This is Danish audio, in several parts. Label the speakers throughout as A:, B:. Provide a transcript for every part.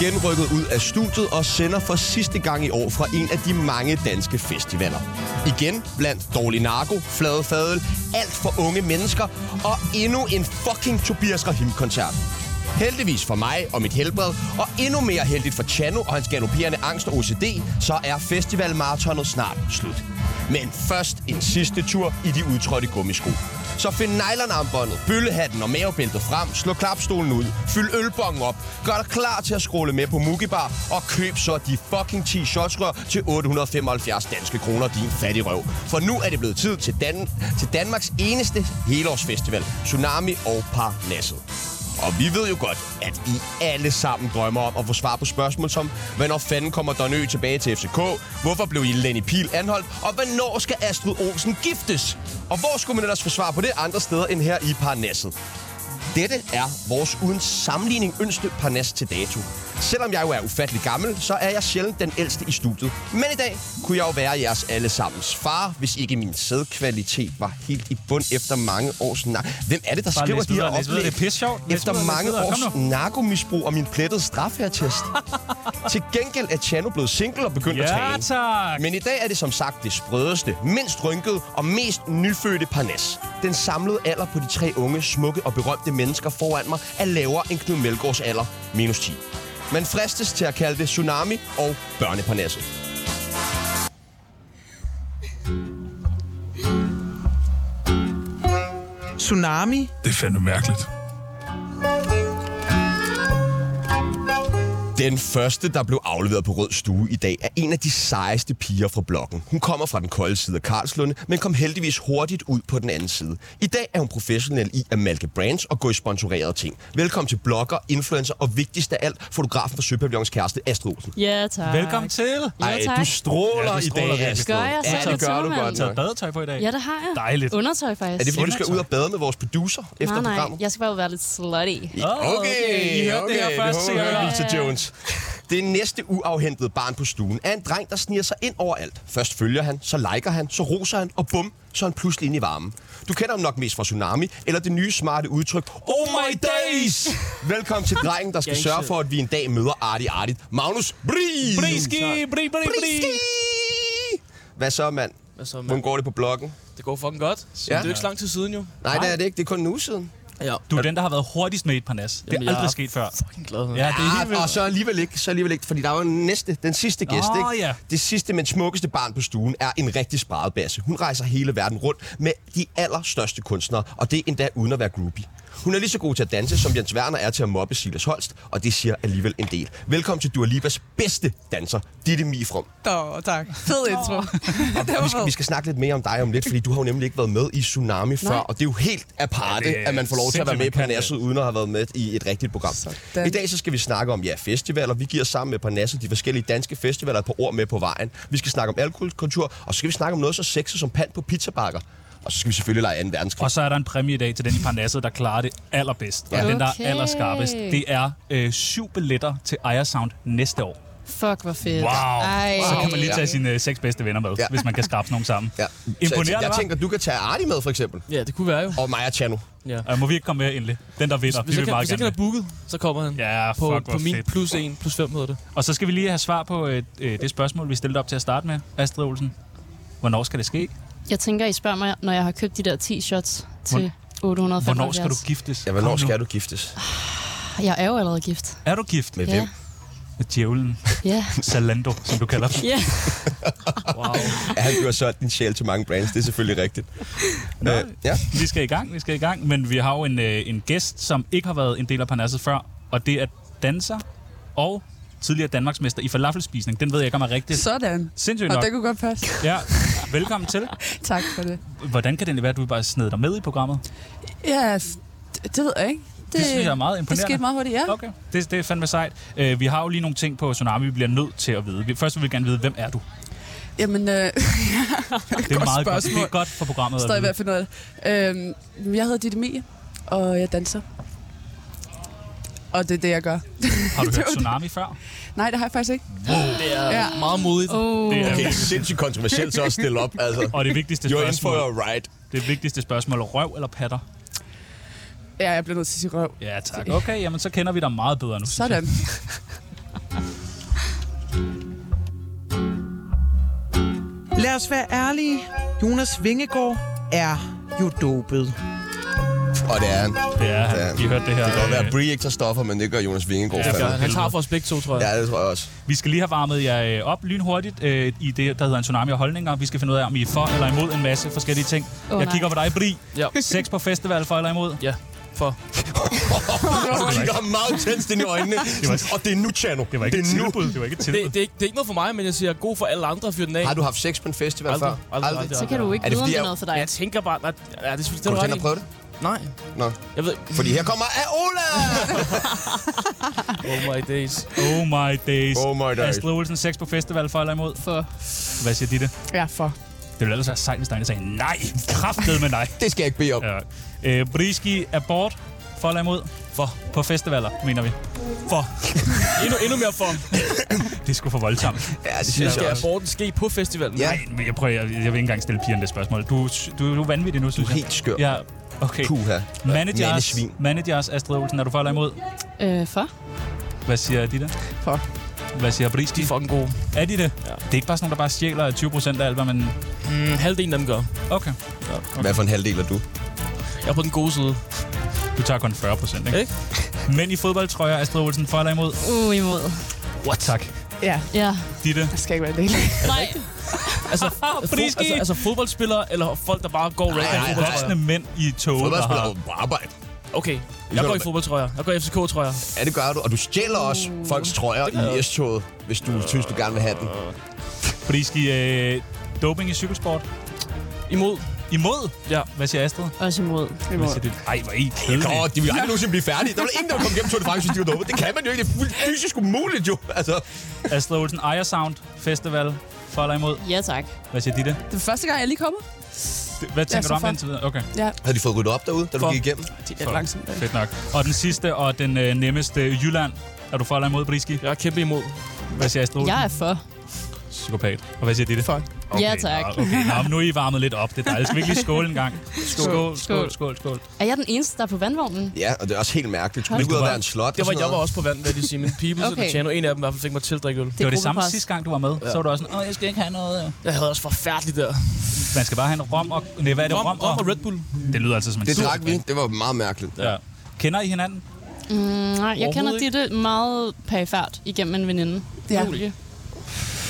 A: genrykket ud af studiet og sender for sidste gang i år fra en af de mange danske festivaler. Igen blandt dårlig narko, flade fadel, alt for unge mennesker og endnu en fucking Tobias Rahim-koncert. Heldigvis for mig og mit helbred, og endnu mere heldigt for Chano og hans galopperende angst og OCD, så er festivalmaratonet snart slut. Men først en sidste tur i de udtrådte gummisko. Så find nylonarmbåndet, bøllehatten og mavebæltet frem, slå klapstolen ud, fyld ølbongen op, gør dig klar til at scrolle med på Mugibar, og køb så de fucking 10 shotsrør til 875 danske kroner, din fattig røv. For nu er det blevet tid til, Dan- til Danmarks eneste helårsfestival, Tsunami og Parnasset. Og vi ved jo godt, at I alle sammen drømmer om at få svar på spørgsmål som, hvornår fanden kommer Donø tilbage til FCK? Hvorfor blev I Lenny Pil anholdt? Og hvornår skal Astrid Olsen giftes? Og hvor skulle man ellers få svar på det andre steder end her i Parnasset? Dette er vores uden sammenligning yngste parnas til dato. Selvom jeg jo er ufattelig gammel, så er jeg sjældent den ældste i studiet. Men i dag kunne jeg jo være jeres allesammens far, hvis ikke min sædkvalitet var helt i bund efter mange års nar... Hvem er det, der
B: Bare
A: skriver
B: læs
A: de her
B: videre, læs videre.
A: oplæg?
B: Det er pisse sjovt. Læs
A: Efter
B: videre, læs
A: mange
B: videre. Kom
A: års narkomisbrug og min plettede strafattest. Til gengæld er Chano blevet single og begyndt at
B: Ja,
A: træne.
B: tak.
A: Men i dag er det som sagt det sprødeste, mindst rynkede og mest nyfødte parnas. Den samlede alder på de tre unge, smukke og berømte mennesker foran mig er lavere end Knud Melgaards alder, minus 10. Man fristes til at kalde det tsunami og børneparnasset.
C: Tsunami?
D: Det er fandme mærkeligt.
A: Den første, der blev afleveret på Rød Stue i dag, er en af de sejeste piger fra blokken. Hun kommer fra den kolde side af Karlslunde, men kom heldigvis hurtigt ud på den anden side. I dag er hun professionel i at malke brands og gå i sponsorerede ting. Velkommen til blogger, influencer og vigtigst af alt, fotografen fra Søpavillons kæreste, Astrid Olsen.
E: Ja, tak.
B: Velkommen til.
E: Ja, tak.
A: du stråler,
B: Ja, du
A: i
B: stråler
A: dag,
B: virkelig.
A: Astrid.
E: Gør jeg så?
A: Ja,
E: Er
A: det
E: det
A: gør du
E: sommer,
A: godt
E: eller?
B: Taget
A: nok.
B: badetøj på i dag.
E: Ja, det har jeg.
B: Dejligt.
E: Undertøj, faktisk.
A: Er det, fordi du skal ud og bade med vores producer efter
E: Nej, nej.
A: programmet?
E: Jeg skal bare være lidt slutty.
B: Åh, I hørte det her først,
A: det
B: sikkert.
A: håber jeg, Lisa Jones. Det næste uafhentede barn på stuen er en dreng, der sniger sig ind overalt. Først følger han, så liker han, så roser han, og bum, så er han pludselig inde i varmen. Du kender ham nok mest fra Tsunami, eller det nye smarte udtryk, Oh my days! Velkommen til drengen, der skal sørge for, at vi en dag møder Arti Artit. Magnus Bri!
B: Briski, bri, bri, bri.
A: Briski! Hvad så, mand?
F: Hvad så,
A: Hvordan
F: mand?
A: går det på bloggen?
F: Det går fucking godt. Ja.
A: Ja.
F: Det er jo ikke så lang tid siden, jo.
A: Nej, det er det ikke. Det er kun en uge siden.
F: Ja.
B: Du er den, der har været hurtigst med i et parnas. Det
F: Jamen,
B: er
F: jeg
B: aldrig
F: er
B: sket før.
F: Fucking glad.
B: Ja, det er helt
A: Ah, og
B: vildt.
A: så alligevel ikke, så alligevel ikke, fordi der er jo næste, den sidste gæst,
B: Nå,
A: ikke?
B: ja.
A: Det sidste, men smukkeste barn på stuen, er en rigtig sparebasse. Hun rejser hele verden rundt med de allerstørste kunstnere, og det er endda uden at være groupie. Hun er lige så god til at danse, som Jens Werner er til at mobbe Silas Holst, og det siger alligevel en del. Velkommen til Dua Lipas bedste danser, Ditte Mifrum.
C: Nå, tak. Fed intro. det
A: Og vi, skal, vi skal snakke lidt mere om dig om lidt, fordi du har jo nemlig ikke været med i Tsunami før, og det er jo helt aparte,
B: Ja, det er
A: at man får lov til at være med i
B: sindssygt, man kan
A: Parnasset, uden at have været med i et rigtigt program.
C: Sådan.
A: I dag så skal vi snakke om ja, festivaler. Vi giver sammen med Parnasset de forskellige danske festivaler et par ord med på vejen. Vi skal snakke om alkoholkultur, og så skal vi snakke om noget så sexet som pand på pizzabakker. Og så skal vi selvfølgelig lege 2. verdenskrig.
B: Og så er der en præmie i dag til den i parnasset, der klarer det allerbedst.
A: Ja.
B: Og den, der
E: Okay.
B: er allerskarpest. Det er øh, syv billetter til Aya Sound næste år.
E: Fuck, hvor fedt.
B: Wow.
E: Ej.
B: Så kan man lige tage sine øh, seks bedste venner med,
A: Ja.
B: hvis man kan skrabe sådan nogle sammen.
A: Ja. Så jeg,
B: Imponerende,
A: jeg
B: hva'?
A: tænker, du kan tage Arti med, for eksempel.
F: Ja, det kunne være jo.
A: Og mig og Chano.
B: Øh, Må vi ikke komme med endelig? Den, der vinder,
F: Hvis
B: vi vil
F: jeg kan,
B: meget
F: hvis jeg
B: gerne
F: kan have booket, så kommer han.
B: med. Ja,
F: På,
B: fuck,
F: på
B: hvor
F: min
B: fedt.
F: plus 1, plus 5 hedder det.
B: Og så skal vi lige have svar på øh, øh, det spørgsmål, vi stillede op til at starte med, Astrid Olsen. Hvornår skal det ske?
E: Jeg tænker, I spørger mig, når jeg har købt de der 10 shots til 875.
B: Hvornår skal du giftes?
A: Ja, hvornår
B: Kom nu.
A: skal du giftes?
E: Jeg er jo allerede gift.
B: Er du gift
A: Med
E: Ja.
A: hvem?
B: med djævlen?
E: Ja.
B: Zalando, som du kalder dem.
E: Ja.
A: Ja, han har solgt din sjæl til mange brands, det er selvfølgelig rigtigt. Øh, ja.
B: Vi skal i gang, vi skal i gang, men vi har jo en, øh, en gæst, som ikke har været en del af Parnasset før, og det er danser og tidligere Danmarksmester i falafelspisning. Den ved jeg ikke, om er rigtigt. Så...
C: Sådan.
B: Sindssygt
C: Og
B: nok.
C: det kunne godt passe.
B: Ja, velkommen til.
C: Tak for det.
B: Hvordan kan det egentlig være, at du bare sned dig med i programmet?
C: Ja, yes, det ved jeg ikke. Det,
B: synes jeg er meget
C: Det
B: imponerende.
C: skete meget hurtigt, ja.
B: Okay, det, det er fandme sejt. Øh, vi har jo lige nogle ting på Tsunami, vi bliver nødt til at vide. Vi- Først vil vi gerne vide, hvem er du?
C: Jamen, øh,
B: Det er meget
C: Godt
B: godt.
C: spørgsmål.
B: Det er godt for programmet
C: stadig
B: at
C: ved
B: vide.
C: at finde ud af det. Øhm, jeg hedder Ditte Mie, og jeg danser. Og det er det, jeg gør.
B: Har du hørt
C: var det.
B: Tsunami før?
C: Nej, det har jeg faktisk ikke.
F: Det er
C: Ja.
F: meget modigt.
E: Oh.
B: Det er,
A: Det er sindssygt kontroversielt så at stille op, altså.
B: Og det vigtigste
A: You're in for
B: spørgsmål,
A: a ride.
B: det vigtigste spørgsmål, røv eller patter?
C: Ja, jeg bliver nødt til at sige røv.
B: Ja, tak. Okay, jamen så kender vi dig meget bedre nu.
C: Sådan.
D: Lad os være ærlige. Jonas Vingegaard er jo dopet.
A: Og det er han.
B: Det er
A: Det er
B: han.
A: han.
B: Vi hørte det her.
A: Det kan godt være,
B: øh,
A: at Brie ikke tager stoffer, men det gør Jonas Vingegaard
B: Ja,
A: ja,
B: for-
A: fandme.
F: Han tager for os begge to, tror jeg.
A: Ja, det tror jeg også.
B: Vi skal lige have varmet jer øh, op lynhurtigt øh, i det, der hedder en tsunami af holdninger. Vi skal finde ud af, om I er for eller imod en masse forskellige ting.
E: Åh,
B: Oh, jeg
E: nej.
B: kigger på dig, Bri.
F: Ja.
B: Sex på festival, for eller imod?
F: Ja. For.
A: Du kigger meget tændst ind i øjnene. Sådan, Og det er nu, Chano.
B: Det var ikke
A: det
B: et
A: er nu.
B: tilbud. Det var ikke et
F: Det,
B: tilbud.
F: det, er ikke, det er ikke noget for mig, men jeg siger god for alle andre at fyre den af.
A: Har du haft sex på en festival
F: aldrig,
A: før?
F: aldrig, aldrig, aldrig,
E: Så kan du ikke
A: Er det
E: vide, om
A: fordi,
E: det er
A: jeg-
E: noget for
F: Nej.
E: dig.
F: Jeg tænker bare... Nej, ja, det er
A: Kunne
F: selvfølgelig
A: du
F: ret
A: tænke dig at
F: i.
A: prøve det?
F: Nej.
A: Nå.
F: Jeg ved...
A: Fordi her kommer Aola!
F: Oh my days.
B: Oh my days.
A: Oh my days.
B: Astrid Olsen, sex på festival, for eller imod?
E: For.
B: Hvad siger de det?
C: Ja, for.
B: Det ville ellers være sejt, hvis Dejne sagde nej. Kraftet med nej.
A: Det skal jeg ikke bede om.
B: Ja. Øh, Briski, abort, for eller imod? For. På festivaler, mener vi. For.
F: Endnu, endnu mere for.
B: Det skulle for voldsomt.
A: Ja, det
F: Det
A: synes
F: skal
A: jeg også.
F: aborten ske på festivalen.
A: Ja.
B: Nej, men jeg, prøver, jeg, jeg vil ikke engang stille pigerne det spørgsmål. Du, du, du er vanvittig nu, synes
A: Du er
B: jeg.
A: helt skør.
B: Ja, okay.
A: Puha.
B: Managers,
A: Mandesvin.
B: managers, Astrid Olsen, er du for eller imod?
E: Øh, for?
B: Hvad siger de der?
C: For.
B: Hvad siger Briski?
F: De er fucking gode.
B: Er de det? Ja. Det er ikke bare sådan nogen, der bare stjæler 20% af alt, hvad man...
F: Mm, halvdelen af dem gør.
B: Okay.
A: Hvad for en halvdel er du?
F: Jeg er på den gode side.
B: Du tager kun 40%, ikke?
F: Ikke?
B: Mænd i fodboldtrøjer, Astrid Olsen, for eller imod?
E: Uh, imod.
B: What? Tak.
C: Ja,
E: Ja.
B: Ditte?
C: jeg skal ikke være en del.
E: Nej,
F: Altså, fo-
B: Friske!
F: altså, altså fodboldspillere, eller folk, der bare går
A: Nej, nej,
F: random
B: Voksne
F: fodboldtrøjer.
B: mænd i toget, der
A: Fodboldspiller er
B: har...
A: jo på arbejde.
F: Okay, jeg går i fodboldtrøjer. Jeg går i FCK-trøjer.
A: Ja, det gør du. Og du stjæler også folks trøjer i S-toget, hvis du synes, du gerne vil have den.
B: Briski, øh, doping i cykelsport?
F: Imod.
B: Imod?
F: Ja.
B: Hvad siger Astrid?
E: også imod.
B: Hvad siger det? Ej, hvor er I kedelige.
A: Nå, de vil aldrig nogensinde blive færdige. Der var ingen, der ville komme gennem Tour de France, hvis de var dumme. Det kan man jo ikke. Det er fuldt fysisk umuligt, jo. Altså,
B: Astrid Olsen, Ejer Sound Festival, for eller imod?
E: Ja, tak.
B: Hvad siger Ditte?
C: Det er første gang, jeg er lige kommet.
B: Hvad tænker
C: så
B: du om
C: for.
B: indtil videre? Okay.
C: Ja,
A: havde de fået ryddet op derude, da du
F: For-
A: gik igennem?
C: det er langsomt.
B: Fedt nok. Og den sidste og den øh, nemmeste, Jylland. Er du for eller imod, Briski?
F: Jeg er kæmpe imod.
B: Hvad siger Astrid?
E: Jeg er for.
B: Psykopat. Og hvad siger Ditte?
C: For.
E: Ja, tak.
B: nå, Okay, nå, men nu er I varmet lidt op. Det er dejligt. Skal vi ikke lige skåle en gang? Skål, skål, skål,
E: Skål.
B: skål. skål.
E: Er jeg den eneste, der er på vandvognen?
A: Ja, og det er også helt mærkeligt. Skulle
E: Hold
A: det ikke ud og
B: da
A: være en slot?
F: Det
A: og
F: var,
A: sådan
F: jeg var
A: noget?
F: også på vand, vil jeg sige, men Pibels okay.
E: Okay.
F: og Chano, en af dem i hvert fald fik mig til at drikke øl.
B: Det var det samme
E: gruppepres.
B: sidste gang, du var med. Så var du også sådan, Åh, jeg skal ikke have noget. øh."
F: Jeg havde også forfærdeligt der.
B: Man skal bare have en rom og... Nej, hvad er det?
F: Rom, rom og Red Bull.
B: Det lyder altså som en
A: Det
B: sur-
A: drak vi. Det var meget mærkeligt.
B: Ja. Kender I hinanden?
E: Mm, nej, jeg kender
F: Overhovedet
E: Ditte meget perifært igennem en veninde.
C: Ja.
E: Julie.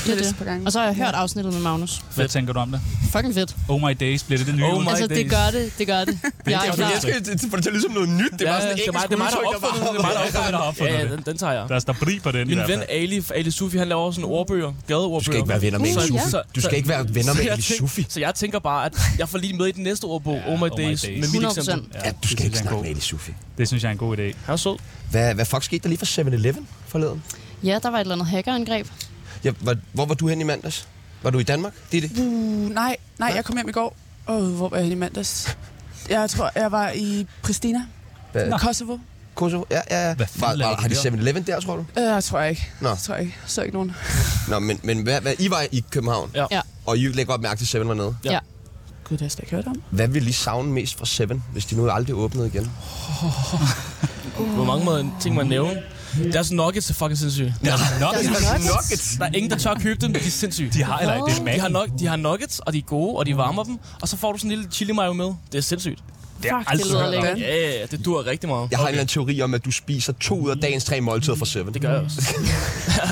C: Jeg
E: Ja,
C: har læst
E: det.
C: et par gange.
E: Og så har jeg hørt afsnittet med Magnus.
B: Hvad tænker du om det?
E: Fucking fedt.
B: Oh my days, bliver det det nye?
F: Oh
B: ud?
F: my-
E: Altså, det
F: days.
E: gør det. Det gør det. Jeg
A: Jeg
E: er
A: kan
E: klar.
A: elske, at det- for det er ligesom noget nyt. Det var sådan et
F: det er mig,
A: engelsk
F: det er mig, der
A: udtryk, der
F: har opfundet det. Det er mig,
A: var...
F: der
B: der
F: har opfundet
B: har opfundet
F: det. Ja,
B: det.
F: den, den tager jeg.
B: Der er stabri på den i
F: Min
B: hvert
F: ven
B: fald.
F: Ali, Ali Sufi, han laver også sådan ordbøger, gadeordbøger.
A: Du skal ikke være venner med en
E: Uh, ja.
A: Sufi. Du skal ikke være venner med
F: jeg
A: en
F: tænk-
A: Sufi.
F: Så jeg tænker bare, at jeg får lige med i den næste ordbog,
B: Ja,
F: Oh My Days, med mit
E: 100
F: eksempel.
B: Ja,
A: Ja, du skal
B: det
A: ikke
B: synes jeg er en
A: snakke
B: god-
A: med en Sufi.
B: Det synes jeg er en god idé.
F: Han er sød.
A: Hvad, hvad fuck skete der lige for 7-Eleven forleden?
E: Ja, der var et eller andet hackerangreb.
A: Ja, var, hvor var du hen i mandags? Var du i Danmark? Det er det.
C: Uh, nej, nej, jeg kom hjem i går. Åh, hvor var jeg henne i mandags? Jeg tror, jeg var i Pristina,
A: Hvad-
B: Ah.
C: Kosovo.
A: Kosovo? Ja, ja, ja.
B: Hvad fanden
A: Var, var,
B: laver
A: har
B: de
A: de 7-Eleven der, tror du?
C: Øh, jeg tror jeg ikke.
A: Nå.
C: Jeg tror jeg ikke. Så ikke nogen.
A: Nå, men, men hvad, hvad, I var i København,
F: Ja.
E: Ja.
A: og I lægger godt mærke til 7 var nede.
E: Ja.
C: Gud, det har jeg slet ikke hørt om.
A: Hvad ville I savne mest fra 7, hvis de nu aldrig åbnede igen?
F: Hvor mange måder, ting man nævne. Deres nuggets er fucking sindssyge.
A: Ja.
B: Nok,
A: Nuggets.
F: Der er ingen, der tør købe dem, men de er sindssyge.
B: de har eller ikke. Det er
F: De
B: Mac'en.
F: har, nok, de har nuggets, og de er gode, og de varmer dem. Og så får du sådan en lille chili mayo med. Det er sindssygt.
B: Det har jeg
E: det
B: aldrig
E: lyder
B: hørt om.
E: lækkert.
F: Ja, yeah, det dur rigtig meget.
A: Jeg har okay. Mm. en eller anden teori om, at du spiser to ud af dagens tre måltider fra 7.
F: Det gør jeg også.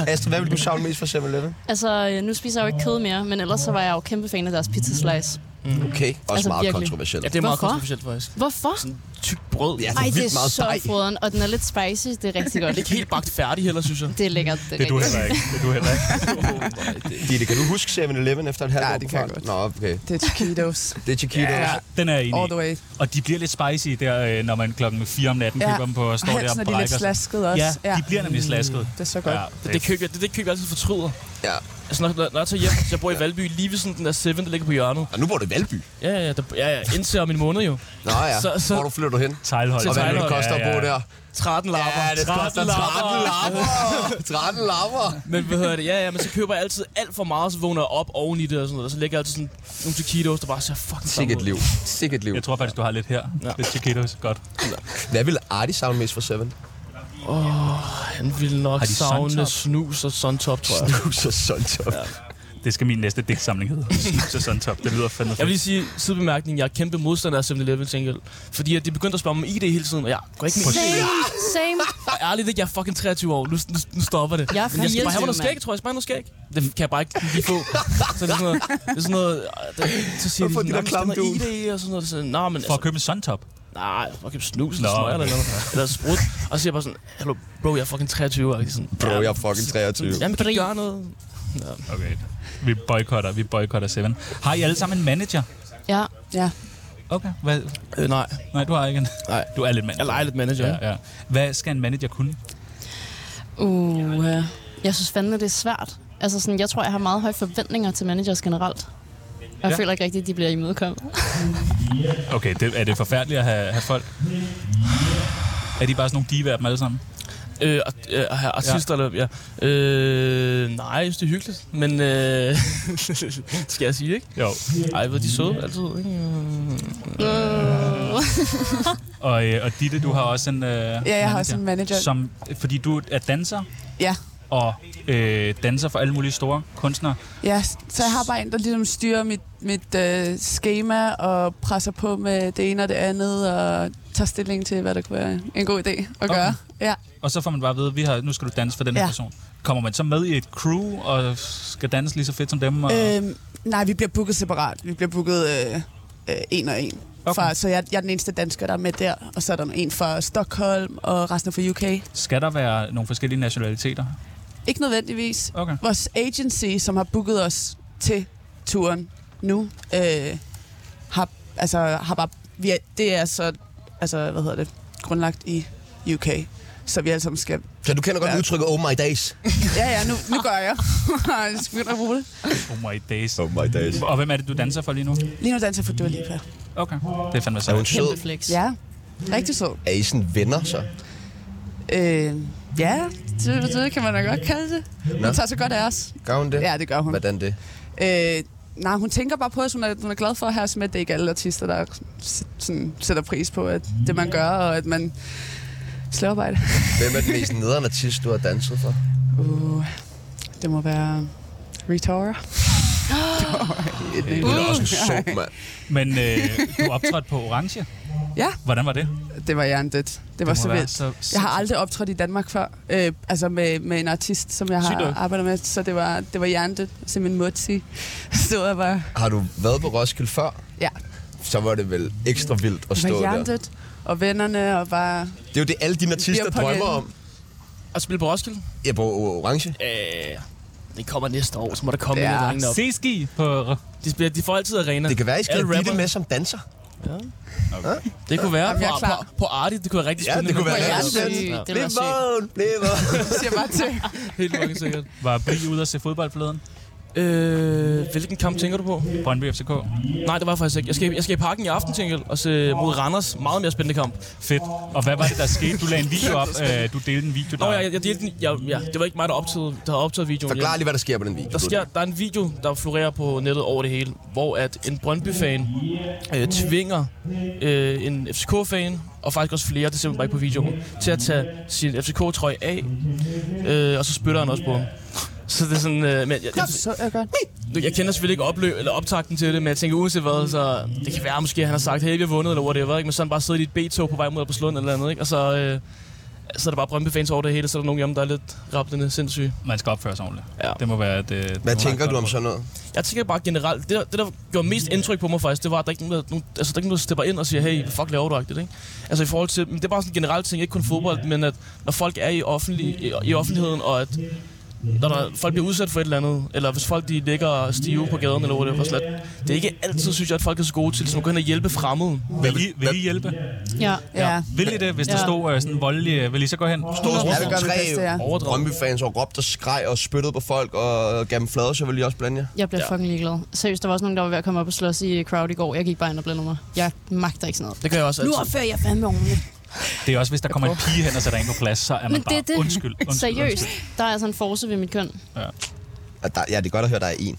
A: Astrid, hvad vil du savne mest fra 7-Eleven?
E: Altså, øh, nu spiser jeg jo ikke kød mere, men ellers så var jeg jo kæmpe fan af deres pizza slice.
A: Okay, også altså,
E: Altså,
A: meget
E: virkelig.
A: kontroversielt.
F: Ja, det er meget
E: Hvorfor?
F: kontroversielt faktisk.
E: Hvorfor?
F: Tyk brød.
A: Ja,
F: Ja.
A: det
E: Ej,
A: er
E: det
A: vildt
E: er
A: meget
E: så
A: dej.
E: froderen, og den er lidt spicy. Det er rigtig godt.
F: Det er ikke helt bagt færdig heller, synes jeg.
E: Det er lækkert. Det er,
B: Det er du
E: rigtigt.
B: heller ikke. Det er du heller ikke.
A: Ditte, kan du huske 7-Eleven efter et halvt
C: Ja,
A: år?
C: det
A: på
C: kan jeg
A: fart?
C: godt.
A: Nå, okay.
C: Det er taquitos.
A: Det er Chiquito. Ja.
B: Den er jeg
C: All
B: enig
C: the
B: i.
C: way.
B: Og de bliver lidt spicy der, øh, når man klokken 4 om natten køber dem på og står
C: Halsen
B: der og
C: er de lidt
B: brækker. sig.
C: slasket også.
B: Ja, de bliver nemlig slasket.
C: Det er så godt.
B: Ja,
F: Det, det, køb, jeg- det, er det køb, jeg altid fortryder.
A: ja.
F: Altså, når, når, når jeg tager hjem, så jeg bor i Valby, lige ved sådan den der 7, der ligger på hjørnet.
A: Og nu bor du i Valby.
F: Ja, ja, der, ja, ja, indtil om en måned jo.
A: Nå ja,
F: Så- så-
A: hvor du flytter du hen?
B: Tejlhold.
A: Og hvad vil det koste at bo der?
F: 13 lapper.
A: Ja, det koster 13 lapper. 13 lapper.
F: Men hvad hedder det? Ja, ja, men så køber jeg altid alt for meget, så vågner jeg op oven i det og sådan noget. Og så lægger jeg altid sådan nogle taquitos, der bare ser fucking
A: Sikke
F: samme
A: et
F: ud.
A: liv. Sikke et liv.
B: Jeg tror faktisk, du har lidt her.
F: Ja.
B: Det er Chiquitos. Godt.
A: Hvad ville Artie savne mest fra 7?
F: Han ville nok
B: Har de
F: savne
B: Suntop?
F: snus og suntop, tror jeg.
A: Snus og Suntop.
B: Det skal min næste digtsamling hedde. Snus og Sundtop. Det lyder fandme
F: Jeg vil
B: fedt.
F: lige sige, sidebemærkning, jeg er kæmpe modstander af 7-Eleven til gengæld. Fordi at de begyndte at spørge mig om ID hele tiden, og jeg går ikke med ID.
E: Same, same.
F: Og ærligt ikke, jeg er fucking 23 år. Nu, nu, nu stopper det.
E: Jeg er
F: Men jeg skal bare have noget
E: mand.
F: skæg, tror jeg. Jeg skal bare have noget skæg. Det kan jeg bare ikke lige få. Så det er sådan noget... Det er sådan noget øh, det, så siger de,
A: Hvorfor de
F: sådan,
A: der
F: "Nå, men
A: klamme
F: stem med ID og sådan noget. Så, Nå, men
B: For at
F: altså,
B: købe en Sundtop.
F: nej, fucking snus
B: Nå.
F: eller smøger eller noget. Eller sprut. Og så siger jeg bare sådan, hallo, bro, jeg er fucking 23 år. Sådan,
A: Bro,
F: "Ja,
A: jeg er fucking 23.
F: Jamen, kan I gøre noget?
B: Okay. Vi boykotter, vi boykotter Seven. Har I alle sammen en manager?
E: Ja.
C: Ja.
B: Okay. Hvad?
F: Øh, nej,
B: Nej, du har ikke en.
F: Nej.
B: Du er lidt manager.
F: jeg leger lidt manager. Ja.
B: Ja, ja. Hvad skal en manager kunne?
E: Uh, uh, jeg synes fandme, det er svært. Altså sådan, jeg tror, jeg har meget høje forventninger til managers generelt. Og jeg
B: Ja.
E: ja. føler ikke rigtigt, at de bliver imødekommet.
B: Okay, det, er det forfærdeligt at have, have folk? Er de bare sådan nogle divaer dem alle sammen?
F: Øh, og, øh, og have artister, ja. Eller, ja. Øh, nej, jeg synes, det er hyggeligt. Men øh, skal jeg sige, ikke?
B: Jo.
F: Ej, hvor er de søde altid, ikke?
B: Og, øh, og Ditte, du har også en øh, Ja,
C: jeg har også en manager.
B: Som, fordi du er danser
C: Ja.
B: og øh, danser for alle mulige store kunstnere.
C: Ja, så jeg har bare en, der ligesom styrer mit, mit øh, schema og presser på med det ene og det andet og tager stilling til, hvad der kunne være en god idé at okay. gøre. Ja.
B: Og så får man bare at vide, vi har, nu skal du danse for den her
C: Ja.
B: person. Kommer man så med i et crew og skal danse lige så fedt som dem? Og,
C: Øhm, nej, vi bliver booket separat. Vi bliver booket øh, øh, en og en.
B: Okay.
C: Okay. Fra, så jeg, jeg er den eneste dansker, der er med der. Og så er der en fra Stockholm og resten er fra UK.
B: Skal der være nogle forskellige nationaliteter?
C: Ikke nødvendigvis.
B: Okay.
C: Vores agency, som har booket os til turen nu, øh, har, altså, har bare... Vi er, det er så, altså, hvad hedder det, grundlagt i UK. Så vi alle sammen skal...
A: Så du kender godt udtrykket Oh my days.
C: Ja, ja, nu, nu gør jeg. jeg skal begynde at rulle.
B: Oh my days.
A: Oh my days.
B: Og hvem er det, du danser for lige nu?
C: Lige nu danser jeg for Dua Lipa.
B: Okay, det er fandme
A: Er hun
B: sejt.
A: sød?
E: Kæmpe flex.
C: Ja, rigtig sød.
A: Er I sådan venner så?
C: Øh, ja, det, det kan man da godt kalde det. Hun
A: Nå.
C: tager så godt af os.
A: Gør hun det?
C: Ja, det gør hun.
A: Hvordan det?
C: Øh, nej, hun tænker bare på os. Hun er, hun er glad for her, som at det ikke er alle artister, der s- sådan, sætter pris på at det, man gør, og at man slår arbejde.
A: Hvem er den mest nederen artist, du har danset for?
C: Uh, det må være Retora.
A: Hun er også en
C: Uh.
A: sjov mand.
B: Men øh, du optrådte på Orange.
C: Ja,
B: Hvordan var det?
C: det var jerndødt. Det var
B: må
C: så
B: være
C: vildt.
B: så
C: Jeg har aldrig optrådt i Danmark før, øh, altså med, med en artist, som jeg
F: Sygt
C: har
F: nok.
C: arbejdet med, så det var, det var jerndødt. Simpelthen Mutsi stod og var,
A: Har du været på Roskilde før?
C: ja,
A: Så var det vel ekstra vildt at
C: var
A: stå der.
C: jerndødt. Og vennerne, og bare...
A: Det er jo det, alle dine artister
C: Bliver på
A: drømmer
C: gaden.
A: om.
F: At spille på Roskilde?
A: Ja, på Orange.
F: Øh, det kommer næste år, så må der komme
C: Ja.
F: en af drengene op.
B: Seski på...
F: De, spiller, de får altid arena.
A: Det kan være, I skal
F: Alle
A: have Ditte
F: rapper.
A: med som danser.
F: Det kunne være
C: Jamen, jeg er
F: på,
C: klar.
F: på, på Arti, det kunne være rigtig
A: Ja,
F: spændende.
A: det kunne
F: men-
A: være
E: Ja,
A: rigtig
E: sygt.
A: fedt.
E: Det
A: Bliv
E: var sygt.
A: vågen, bliv vågen.
C: Jeg siger bare til.
F: Helt fucking sikkert.
B: Var Bri ude og se fodbold forleden?
F: Øh, hvilken kamp tænker du på?
B: Brøndby FCK.
F: Nej, det var jeg faktisk ikke. Jeg skal, jeg skal i parken i aften, tænker jeg, og se mod Randers. Meget mere spændende kamp.
B: Fedt. Og hvad var det, der skete? Du lagde en video op. Øh, du delte en video, der...
F: Nå, jeg, jeg, jeg, delte den- jeg, ja, det var ikke mig, der, optagede, der havde optaget videoen.
A: Forklar
F: Jeg-
A: lige, hvad der sker på den video.
F: Der, sker, der er en video, der florerer på nettet over det hele, hvor at en Brøndby-fan øh, tvinger øh, en FCK-fan, og faktisk også flere, det ser man bare ikke på videoen, til at tage sin FCK-trøje af, øh, og så spytter han også på ham. Så det er sådan, øh, men jeg, jeg,
C: Så jeg godt.
F: nu, jeg kender selvfølgelig ikke opløb, eller optakten til det, men jeg tænker uanset hvad, så det kan være måske, at han har sagt, hey, vi har vundet, eller whatever, ikke? men sådan bare sidder i et B-tog på vej mod Abberslund eller andet, ikke? og så, øh, så er der bare Brøndby-fans over det hele, så er der nogen hjemme, der er lidt rappende sindssyge.
B: Man skal opføre sig ordentligt.
F: Ja.
B: Det må være et... Øh, det må
A: Hvad
B: være
A: tænker
B: et
A: du om
B: godt
A: sådan noget?
F: Jeg tænker bare generelt, det der, det der gjorde mest indtryk på mig faktisk, det var, at der ikke er nogen, der- nogen, altså, der er ikke nogen, der stepper ind og siger, hey, hvad fuck laver du agtigt, ikke? Altså i forhold til, men det er bare sådan en generel ting, ikke kun fodbold, men at når folk er i, offentlig, i, i offentligheden, og at når der, folk bliver udsat for et eller andet, eller hvis folk de ligger stive på gaden, eller hvor det er slet, det er ikke altid, synes jeg, at folk er så gode til ligesom, at gå hen og hjælpe fremmede.
B: råd. Vil I, vil I hjælpe?
E: Ja.
C: Ja.
B: Vil I det, hvis der
E: Ja.
B: stod øh, sådan en voldelig... øh, Vil I så gå hen?
A: Stod
C: Ja,
A: der
C: det gør vi
A: tre
C: bedst, ja.
F: Overdrag.
A: Brøndby-fans og råbte og skreg og spyttede på folk og gav dem flader, så ville I også blande jer.
E: Jeg bliver
F: Ja.
E: ja. fucking ligeglad. Seriøst, der var også nogen, der var ved at komme op og slås i crowd i går. Jeg gik bare ind og blandede mig. Jeg magter ikke sådan noget.
F: Det gør jeg også altid.
E: Nu opfører jeg fandme ordentligt.
B: Det er også, hvis der kommer en pige hen og sætter en på plads, så er man
E: Men
B: bare...
E: det er det.
B: Undskyld, undskyld,
E: Seriøst,
B: undskyld.
E: der er altså en force ved mit køn.
A: Og der, ja, det er godt at høre, der er en.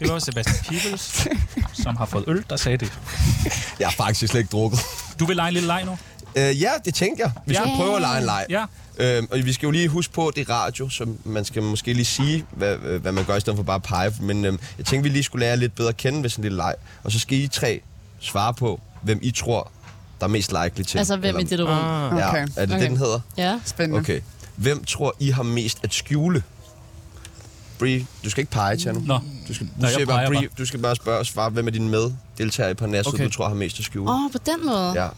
B: Det var Sebastian Peebles, som har fået øl, der sagde det.
A: Jeg har faktisk slet ikke drukket.
B: Du vil lege en lille leg nu?
A: Øh, ja, det tænker jeg. Vi skal
E: Ja.
A: prøve at lege en leg.
B: Ja.
A: Øhm, og vi skal jo lige huske på, at det er radio, så man skal måske lige sige, hvad, øh, hvad man gør, i stedet for bare at pege. Men øhm, jeg tænkte, vi lige skulle lære jer lidt bedre at kende ved sådan en lille leg. Og så skal I tre svare på, hvem I tror, der er mest likely til.
E: Altså, hvem i
A: Eller-
E: dette rum?
F: Ah.
A: Ja,
C: Okay.
A: er det okay.
E: Okay. Mm.
A: det, den hedder?
E: Ja.
C: Spændende.
A: Okay. Hvem tror I har mest at skjule? Brie, du skal ikke pege, Tjerno.
B: Nå.
A: Du skal, du,
B: Nej, jeg
A: siger bare,
B: peger
A: Brie, du skal bare spørge og svare, hvem er dine meddeltagere i Parnasset, okay.
F: Okay.
A: du tror har mest at skjule?
E: Åh, oh, på den måde.
A: Ja.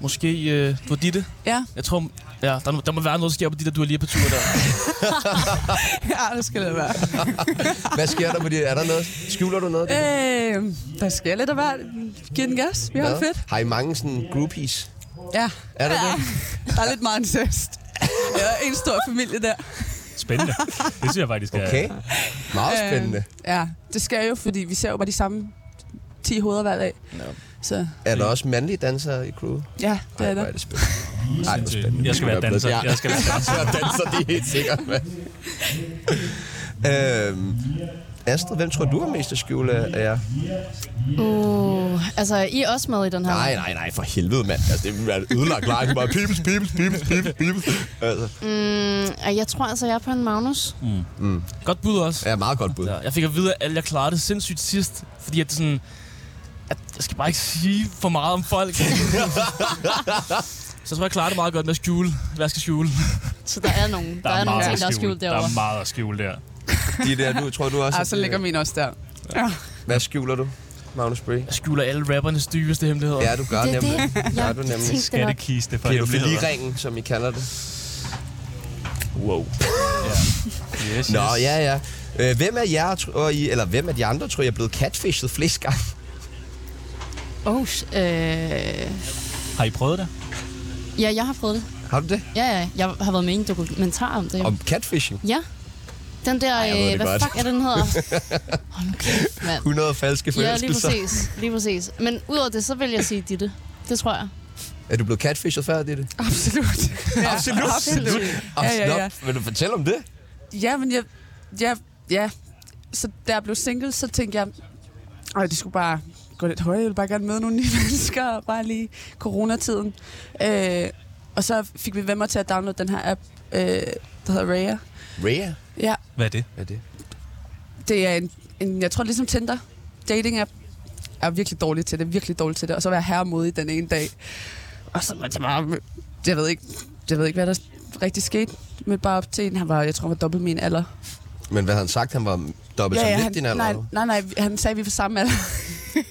F: Måske øh, du er Ditte.
C: Ja.
F: Jeg tror, ja, der, der må være noget, der sker på de der du er lige på tur der.
C: ja, det skal det være.
A: Hvad sker der på det? Er der noget? Skjuler du noget?
C: Øh, der sker lidt af hvert. Giv den gas. Vi har det
A: Hvad?
C: fedt.
A: Har I mange sådan groupies?
C: Ja.
A: Er der
C: ja.
A: det?
C: Der er lidt meget incest. Jeg er en stor familie der.
B: Spændende. Det synes jeg faktisk øh, er...
A: Okay. Meget spændende.
C: Øh, ja, det skal jo, fordi vi ser jo bare de samme 10 hoveder hver dag. No. Så
A: Er der også mandlige dansere i crewet?
C: ja, det
A: Ej,
C: er
A: hvor
C: det.
A: er det spændende. Ej, hvor spændende.
B: Jeg skal være danser.
A: Ja.
B: Jeg skal være danser.
A: Jeg danser, det er helt sikkert, mand. øhm, Astrid, hvem tror du har mest at skjule af jer?
E: Uh, altså, I er også med i den her.
A: Nej, nej, nej, for helvede, mand. Altså, det ville være et ødelagt leg. Det er bare pibels, pibels, pibels, pibels, pibels. Altså,
E: Mm, og jeg tror altså, jeg er på en Magnus.
F: Godt bud også.
A: ja, meget godt bud.
F: Ja, jeg fik at vide, at jeg klarede det sindssygt sidst, fordi at det sådan... At jeg skal bare ikke sige for meget om folk. så jeg tror, jeg klarede det meget godt med at skjule, hvad jeg skal skjule.
E: Så der er nogen. Der, der er, er nogle
B: meget
E: ting,
B: at
E: der er skjult
B: Der er
E: derovre.
B: meget at skjule der.
A: De der, du, tror du også...
C: Ah, så
A: at-
C: ligger min også der. Ja.
A: Hvad skjuler du, Magnus Bree?
F: Jeg skjuler alle rappernes dybeste hemmeligheder.
A: Ja, du gør
E: Det er
A: nemlig.
E: det.
A: Det gør du nemlig.
E: tænkte det nok.
B: Skattekiste for hemmeligheder.
A: Pædofiliringen, som I kalder det.
B: Wow. Ja. Yes,
A: Nå,
B: yes.
A: ja, ja. Øh, Hvem af jer, tror I, eller hvem af de andre, tror jeg er blevet catfished flest gange?
E: Oh, sh- øh,
B: Har I prøvet det?
E: ja, jeg har prøvet det.
A: Har du det?
E: Ja, ja, jeg har været med i en dokumentar om det. jo.
A: Om catfishing?
E: Ja. Den der,
A: jeg ved
E: Ej,
A: det
E: hvad
A: godt.
E: fuck er den hedder? Hold nu kæft, mand.
A: 100 falske
E: Ja, lige
A: forelskelser.
E: præcis. Lige præcis. Men udover det, så vil jeg sige Ditte. Det tror jeg.
A: er du blevet catfished før, det?
C: Absolut. Ja, absolut. absolut. Ja, ja, ja.
A: Vil du fortælle om det?
C: Ja, men jeg... Ja, ja. Så da jeg blev single, så tænkte jeg... Øj, det skulle bare gå lidt højere. Jeg ville bare gerne møde nogle nye mennesker. og Bare lige coronatiden. Øh, og så fik vi venner til at downloade den her app, øh, der hedder Raya.
A: Rhea?
C: Ja,
B: Hvad er det?
A: Hvad er det?
C: det er en, en jeg tror ligesom Tinder, dating app, Jeg er virkelig dårlig til det, virkelig dårlig til det, og så var jeg herremodig den ene dag. Og så var det bare, jeg ved ikke, jeg ved ikke, hvad der rigtig skete. Men bare op til en, han var, jeg tror, han var dobbelt min alder.
A: Men hvad havde han sagt? Han var dobbelt så lidt
C: han,
A: din alder?
C: nej,
A: eller
C: nej, nej, han sagde, at vi var samme alder.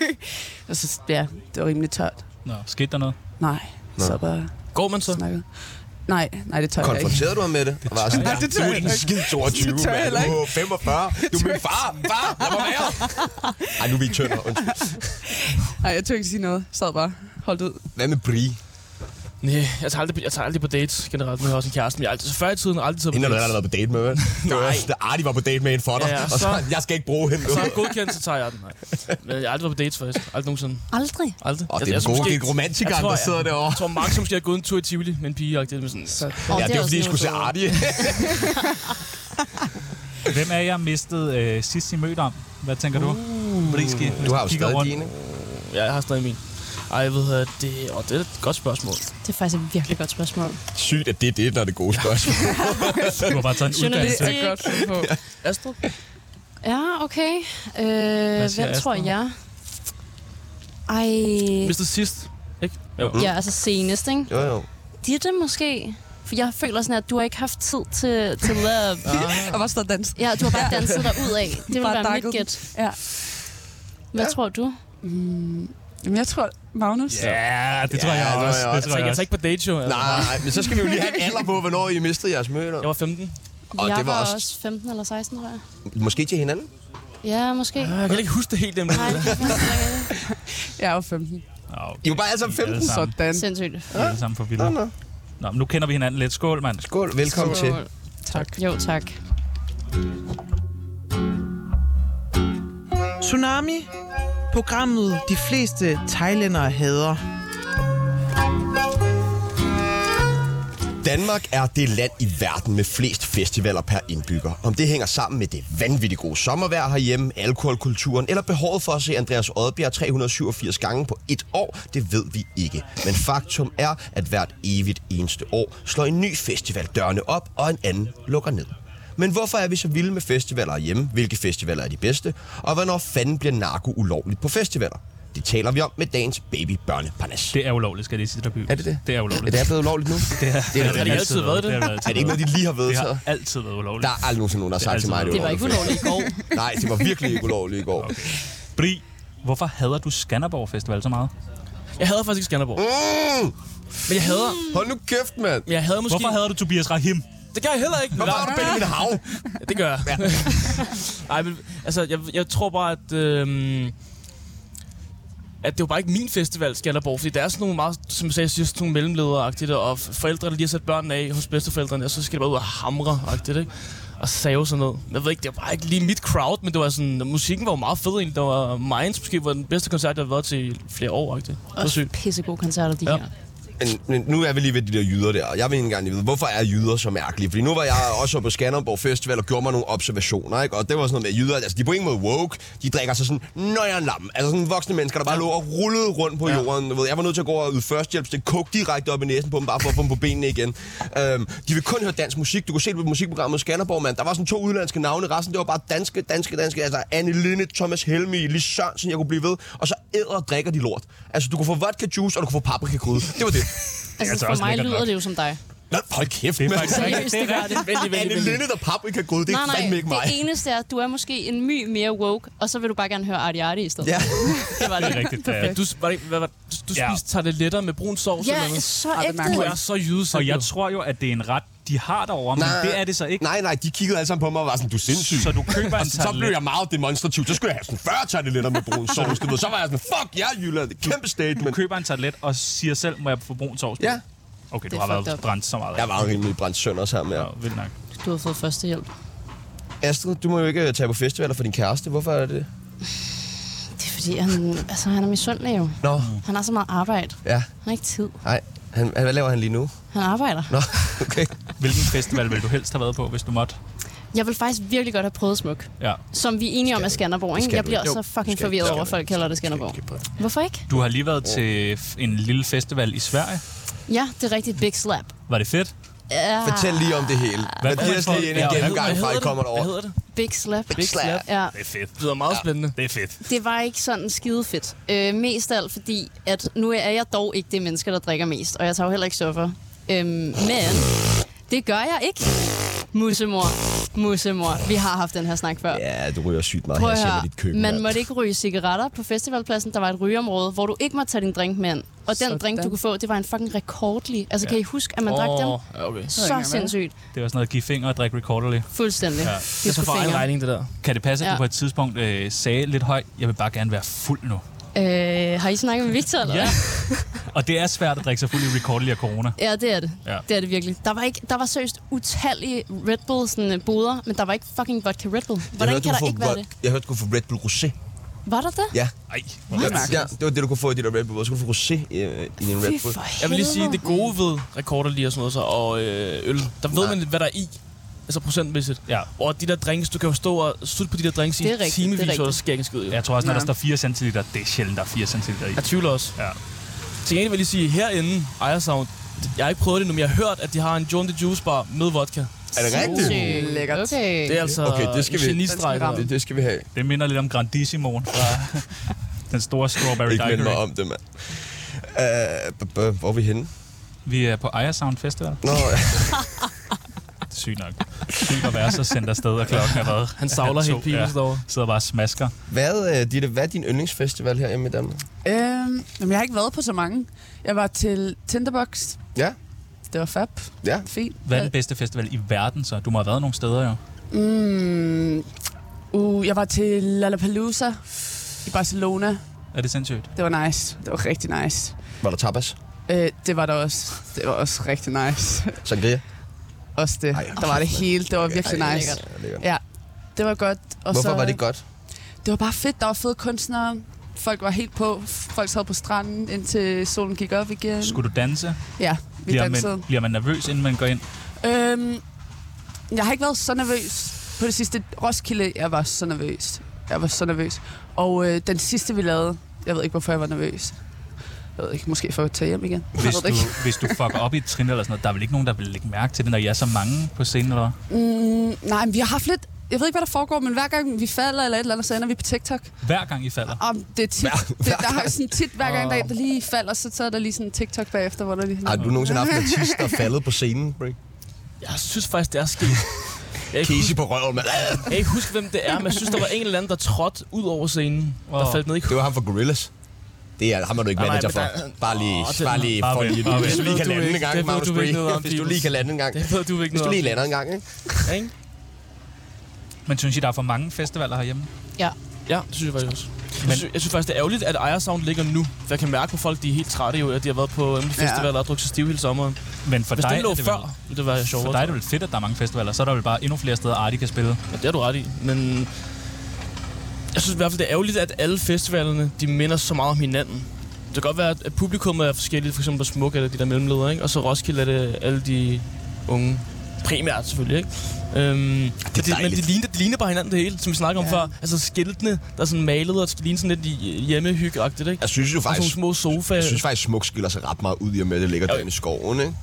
C: og så, ja, det var rimelig tørt.
B: Nå, skete der noget?
C: Nej,
A: Nå.
C: Nå. så bare
F: Går man så?
C: snakket. Nej, nej, det tør jeg ikke.
A: Konfronterede du ham med det? Og var sådan,
C: Nej, det tør
A: du er
C: jeg
A: en
C: ikke.
A: skid 22,
C: Det tør jeg
A: mand.
C: heller
A: Du er 45. Du er min far. Far, lad mig være. Ej, nu er vi i tønder. Undskyld.
C: Nej, jeg tør ikke sige noget. Sad bare, holdt ud.
A: Hvad med Brie?
F: Nej, jeg tager, aldrig, på- jeg tager aldrig på dates generelt. Nu har jeg også en kæreste, men jeg har altid, så før i tiden har jeg aldrig taget på
A: Hende har du
F: dates.
A: allerede været på date med, vel? Det var også, da Artie var på date med en for dig.
F: Ja, ja,
A: Og så,
F: så-
A: jeg skal ikke bruge hende.
F: Så er jeg godkendt, så tager jeg den. Nej. Men jeg har aldrig været på dates faktisk. Aldrig nogensinde.
E: Aldrig.
F: Aldrig.
A: Og det er
F: tror
A: gode
F: måske-
A: gig romantikeren,
F: jeg tror,
A: der
F: jeg-
A: sidder derovre.
F: Jeg tror, Max måske har gået en tur i Tivoli med en pige. Det er sådan,
C: Så,
E: Og
A: Ja, det er jo
E: også
A: fordi, I
E: noget
A: skulle se
E: bedre.
A: Artie.
B: Hvem er jeg mistet øh, sidst I mødte om? Hvad tænker du? Briski, hvis
A: Uh. Du har jo
B: kigger
A: stadig
B: rundt.
A: dine.
F: ja, jeg har stadig min. Ej, jeg ved, at det, åh, det er et godt spørgsmål.
E: Det er faktisk et virkelig godt spørgsmål.
A: Sygt, at det er det, der er det gode spørgsmål.
B: Du har bare taget en
E: Journalist.
B: uddannelse.
C: det er godt fundet på.
F: Astrid?
E: Ja, okay. Øh,
B: Hvad siger
E: hvem tror
B: Astrid?
E: jeg? Ej...
F: Mr. Sidst, ikke? Jo.
A: Mhm.
E: Ja, altså senest, ikke?
A: Jo, jo.
E: Ditte måske? For jeg føler sådan, at du har ikke haft tid til, til love.
C: Og bare stod og dansede.
E: Ja, du har bare danset dig ud af. Det vil
C: Bare
E: være mit
C: dakket den.
E: gæt.
C: Ja.
E: Hvad tror du?
C: Jamen, jeg tror, Magnus.
B: Ja, det tror
A: Ja,
B: jeg
A: det tror
B: også.
A: jeg også.
B: Det
F: Jeg
B: tror jeg
F: tager, jeg tager
B: også.
F: ikke på date, jo. Altså.
A: Nej, men så skal vi jo lige have en alder på, hvornår I mistede jeres møder.
F: Jeg var 15.
A: Og
E: jeg
A: det var også-
E: også 15 eller 16, tror jeg.
A: Måske til hinanden?
E: Ja, måske.
A: Ah.
E: Nej,
F: Jeg kan ikke huske det helt nemlig.
E: det kan jeg ikke.
C: Jeg er jo 15.
B: Nå, okay.
A: I var bare altså alle sammen 15.
B: Vi er alle sammen-
C: Sådan.
E: Sindssygt.
B: vi er alle sammen for vilde.
A: Nå, nå.
B: Nå, men nu kender vi hinanden lidt. Skål, mand.
A: Skål, velkommen til.
E: Skål.
C: Tak.
E: Jo, tak.
D: Tsunami, programmet de fleste thailændere hader.
A: Danmark er det land i verden med flest festivaler per indbygger. Om det hænger sammen med det vanvittigt gode sommervejr herhjemme, alkoholkulturen eller behovet for at se Andreas Odbjerg 387 gange på et år, det ved vi ikke. Men faktum er, at hvert evigt eneste år slår en ny festival dørene op, og en anden lukker ned. Men hvorfor er vi så vilde med festivaler hjemme? Hvilke festivaler er de bedste? Og hvornår fanden bliver narko ulovligt på festivaler? Det taler vi om med dagens baby børneparnas.
B: Det er ulovligt, skal jeg lige sige til dig,
A: Er det det?
B: Det er ulovligt.
A: Er det blevet ulovligt nu? det er, det er,
F: det altid været det?
B: har altid
A: er det ikke noget, de lige har
B: Det har
A: vedtaget?
B: altid været ulovligt.
A: Der er altså aldrig nogensinde nogen, der har
B: Det
A: sagt
B: er
A: til mig,
B: altid
A: det
E: Det var ikke ulovligt i går.
A: Nej, det var virkelig ikke ulovligt i går. Okay.
B: Bri, hvorfor hader du Skanderborg Festival så meget?
F: Jeg hader faktisk ikke Skanderborg.
A: Mm,
F: Men jeg hader...
A: hold nu kæft, mand!
F: Jeg hader måske...
B: Hvorfor hader du Tobias Rahim?
F: Det gør jeg heller ikke.
A: Hvorfor har du Benjamin Hav?
F: Det gør jeg. Nej, men altså, jeg, jeg tror bare, at... Øh, at det var bare ikke min festival, Skanderborg, fordi der er sådan nogle meget, som jeg sagde, sidst, sådan nogle mellemledere-agtigt, og forældre, der lige har sat børnene af hos bedsteforældrene, og så skal de bare ud og hamre -agtigt, ikke? og save sådan noget. Jeg ved ikke, det var bare ikke lige mit crowd, men det var sådan, musikken var jo meget fed egentlig. Der var Minds måske var den bedste koncert, jeg har været til i flere år. -agtigt. Det var
E: Også
F: sygt.
E: pissegode koncerter, de
F: Ja.
E: her.
A: Men, men nu er vi lige ved de der jyder der, og jeg vil ikke engang lige vide, hvorfor er jyder så mærkelige? Fordi nu var jeg også på Skanderborg Festival og gjorde mig nogle observationer, ikke? og det var sådan noget med at jyder, altså de er på ingen måde woke, de drikker sig sådan nøjernlam, altså sådan voksne mennesker, der bare lå og rullede rundt på ja. jorden. Du ved, jeg var nødt til at gå og yde førstehjælp, så det kog direkte op i næsen på dem, bare for at få dem på benene igen. Øhm, de vil kun høre dansk musik, du kunne se det på musikprogrammet Skanderborg, mand. Der var sådan to udlandske navne, resten det var bare danske, danske, danske, altså Anne Linde, Thomas Helmi, Lis Sørensen, jeg kunne blive ved, og så æder og drikker de lort. Altså du kunne få vodka juice, og du kunne få paprikakryde. Det var det.
B: altså
E: Altså,
B: også
E: for mig
B: lækkert
E: lyder
B: nok.
E: det jo som dig.
A: Nå, hold kæft,
B: Det er
A: mand.
B: faktisk rigtigt.
E: Seriøst, det gør det.
F: Vældig,
A: Anne
F: vældig, vældig.
A: Linde, der paprika god, det er
E: Nej,
A: fandme ikke
E: nej,
A: mig.
E: det eneste er, at du er måske en my mere woke, og så vil du bare gerne høre Arti Arti i stedet.
A: Ja.
E: det var
B: Det er
E: det.
B: rigtigt.
F: Ja,
B: Ja.
F: du, var det, hvad, var, du, du
B: Ja.
F: spiste tarteletter med brun sovs eller
E: Ja,
F: noget.
E: så
C: Ej, det
E: ægte.
C: mærker
F: Du
C: jeg.
F: er så jyde
B: Og jeg tror jo, at det er en ret, de har derovre, men
A: Nej.
B: det er det så ikke.
A: Nej, nej, de kiggede alle sammen på mig og var sådan, du er sindssyg.
B: Så du køber
A: og
B: en
A: så blev
B: tartelet.
A: jeg meget demonstrativ. Så skulle jeg have sådan 40 tarteletter med brun sovs. du ved. Så var jeg sådan, fuck, jeg er Jylland. Det er kæmpe
B: Du
A: statement.
B: køber en tartelet og siger selv, må jeg få brun sovs? på?"
A: Ja.
B: Okay, du
E: Det
B: har
E: er
B: været
E: fucked up.
B: brændt så meget.
A: Jeg var rimelig brændt sønders her med.
B: Ja, vildt nok.
E: Du har fået førstehjælp.
A: Astrid, du må jo ikke øh, tage på festivaler for din kæreste. Hvorfor er det?
E: Det er fordi, han, altså, han er misundelig jo.
A: Nå,
E: Han har så meget arbejde.
A: ja.
E: Han har ikke tid.
A: Nej. Han, han, hvad laver han lige nu?
E: Han arbejder.
A: Nå, okay.
B: Hvilken festival vil du helst have været på, hvis du måtte?
E: Jeg vil faktisk virkelig godt have prøvet smuk.
B: Ja.
E: Som vi er enige om er Skanderborg, ikke?
A: skal
E: Jeg
A: du
E: bliver
A: ikke. Jo,
E: så fucking
A: skal du.
E: forvirret
A: Skal
E: over, at
A: du.
E: folk kalder det Skanderborg. Hvorfor ikke?
B: Du har lige været til f- en lille festival i Sverige.
E: Ja, det er rigtigt. Big slap.
B: Var det fedt?
E: Ja,
A: Fortæl lige om det hele. Hvad
B: Hvad-
A: giver os lige ind i en
B: Ja, hvad-
A: gennemgang fra, I kommer
F: Hvad
A: derover?
F: hedder det?
E: Big slap.
F: Big Slap.
E: Ja,
B: Det er fedt.
F: Det lyder meget spændende.
B: Det er fedt.
E: det var ikke sådan skide fedt. Øh, mest af alt fordi, at nu er jeg dog ikke det menneske, der drikker mest, og jeg tager jo heller ikke stoffer. Øhm, men det gør jeg ikke. Musemor, musemor. Vi har haft den her snak før.
A: Ja, du ryger sygt meget
E: Prøv
A: her
E: at
A: selv med
E: høre,
A: dit køkken.
E: man
A: mand.
E: måtte ikke ryge cigaretter på festivalpladsen. Der var et rygeområde, hvor du ikke måtte tage din drink med ind. Og den
C: Sådan.
E: drink, du kunne få, det var en fucking rekordlig. Altså, ja. kan I huske, at man oh. drak dem?
F: Åh, ja, okay.
C: ved jeg
E: Så
C: ikke, hvad
E: sindssygt.
B: Det var sådan noget at give fingre og drikke recorderly.
E: Fuldstændig. Ja.
F: Det er så Altså, for egen regning, det der.
B: Kan det passe, at du
E: Ja.
B: på et tidspunkt øh, sagde lidt højt, jeg vil bare gerne være fuld nu?
E: Øh, har I snakket med Victor, eller hvad?
B: Og det er svært at drikke sig fuld i recorderly og corona.
E: Ja, det er det.
B: Ja.
E: Ja. Det er det virkelig. Der var, ikke, der var seriøst utallige Red Bull sådan, øh, boder, men der var ikke fucking vodka Red Bull.
A: Jeg
E: Hvordan
A: hørte, du
E: kan der
A: kunne
E: ikke
A: få
E: være
A: vod-
E: det?
A: Jeg hørte, du kunne få Red Bull Rosé.
E: Var der det?
A: Ja,
B: Ej,
A: Ja, det var det, du kunne få i dit Red Bull. Så kunne du få rosé øh, i din Red Bull.
F: Jeg vil lige sige, det gode ved rekorder lige og sådan noget så, og øh, øl, der ved man, hvad der er i. Altså procentmæssigt.
B: Ja.
F: Og de der drinks, du kan jo stå og sutte på de der drinks i
E: Det er rigtigt, det er
F: timevis, og der
E: rigtigt.
F: sker ikke en skid. jo.
B: jeg tror også, når der står 4 cm, det er sjældent, der er 4 cm i.
F: Jeg tvivler også.
B: Ja.
F: Til gengæld vil jeg lige sige, herinde, Ejersound, jeg har ikke prøvet det nu, men jeg har hørt, at de har en John the Juice bar med vodka.
A: Er det rigtigt?
C: Lækkert.
E: Okay.
F: Det er altså
A: Okay, det skal
F: en
A: vi-
F: genistreg.
C: Den skal vi ramme.
F: det der.
A: det skal vi have.
B: Det minder lidt om Grandissimoen fra den store Strawberry
A: Ikke minde mig
B: Daiquiri.
A: om det, mand. Øh, b- b- hvor er vi henne?
B: Vi er på Aya Sound Festival.
A: Nå,
B: Det er sygt nok. Sygt at være så sendt afsted, og klokken har været.
F: Han savler
B: to,
F: helt pilen
B: ja.
F: derovre.
B: Sidder bare og smasker.
A: hvad, øh, Ditte, hvad er din yndlingsfestival her hjemme i Danmark?
C: Øhm, jamen, jeg har ikke været på så mange. Jeg var til Tinderbox.
A: Ja.
C: Det var fab.
A: Ja.
C: Fint.
B: Hvad er den bedste festival i verden så? Du må have været nogle steder jo.
C: Mm, uh, jeg var til Lollapalooza i Barcelona.
B: Er det sindssygt?
C: Det var nice. Det var rigtig nice.
A: Var der tapas?
C: Øh, det var der også. Det var også rigtig nice.
A: Sangria?
C: også det.
A: Ej,
C: der var det hele. Det var virkelig
A: Ej,
C: nice.
A: lækkert. Lækkert.
C: Ja, det var godt. Og
A: Hvorfor
C: så,
A: var det godt?
C: Det var bare fedt. Der var fede kunstnere. Folk var helt på. Folk sad på stranden, indtil solen gik op igen.
B: Skulle du danse?
C: Ja, Vi
B: Bliver
C: dansede.
B: man, bliver man nervøs, inden man går ind?
C: Øhm, jeg har ikke været så nervøs på det sidste. Roskilde, jeg var så nervøs. Jeg var så nervøs. Og øh, den sidste, vi lavede, jeg ved ikke, hvorfor jeg var nervøs. Jeg ved ikke, måske for at tage hjem igen. Jeg
B: Hvis
C: ved det
B: du,
C: ikke.
B: hvis du fucker op i et trin eller sådan noget, der er vel ikke nogen, der vil lægge mærke til det, når I er så mange på scenen, eller hvad?
C: Mm, nej, men vi har haft lidt... Jeg ved ikke, hvad der foregår, men hver gang vi falder eller et eller andet, så ender vi på TikTok.
B: Hver gang I falder.
C: Om det er tit, det, der har sådan tit hver gang, der, er en, der lige falder, så, så er der lige sådan en TikTok bagefter, hvor der lige...
A: Har du nogensinde haft en artist, der er faldet på scenen? Break?
F: Jeg synes faktisk, det er sket. Jeg kan ikke
A: Casey på røven, mand.
F: Jeg kan ikke huske, hvem det er, men jeg synes, der var en eller anden, der trådte ud over scenen, wow. der
B: Wow.
F: faldt ned i
A: Det var ham fra Gorillas. Det er, ham er du ikke
F: Nej, nej,
A: manager for.
F: men der-
A: Bare lige,
F: Åh, det er
A: bare lige,
B: Bare
A: for
B: vent,
A: lige,
B: bare
A: hvis
B: vent.
A: du lige
F: Det
A: kan
F: ved
A: lande
F: du
A: en gang,
F: ikke. Det ved
A: Magnus
F: du ikke
A: Bree.
F: noget om,
A: Hvis du
F: Pibels.
A: lige kan lande en gang.
F: Det ved du ikke
A: Hvis du
F: noget
A: lige lander en gang, ikke?
F: om, ikke?
B: Men synes I, der er for mange festivaler herhjemme?
E: Ja.
F: Ja, det synes jeg faktisk også.
B: Men-
F: Jeg synes, jeg synes faktisk, det er ærgerligt, at Ejersound ligger nu. For jeg kan mærke på folk, de er helt trætte jo, at de har været på Emily Festival og drukket sig stiv hele sommeren.
B: Men for
F: Hvis
B: dig,
F: den lå
B: er det
F: før,
B: vel,
F: ville det være sjovere.
B: for dig er det vel fedt, at der er mange festivaler. Så er der vel bare endnu flere steder, Arti kan spille.
F: Ja, det har du ret i, men... Jeg synes i hvert fald, det er ærgerligt, at alle festivalerne, de minder så meget om hinanden. Det kan godt være, at publikummet er forskelligt, for eksempel på Smuk eller de der mellemledere, ikke? Og så Roskilde er det alle de unge. Primært selvfølgelig, ikke? Øhm, det det, men
A: dejligt.
F: det ligner, det ligner bare hinanden det hele, som vi snakker om ja. før. Altså skiltene, der er sådan malet og skal ligne sådan lidt i- hjemmehyggeagtigt, ikke?
A: Jeg synes jo
F: Og sådan nogle
A: faktisk,
F: små sofaer.
A: Altså, jeg synes faktisk, Smuk skiller sig ret meget ud i og med, at det ligger
F: Jo.
A: derinde i skoven, ikke?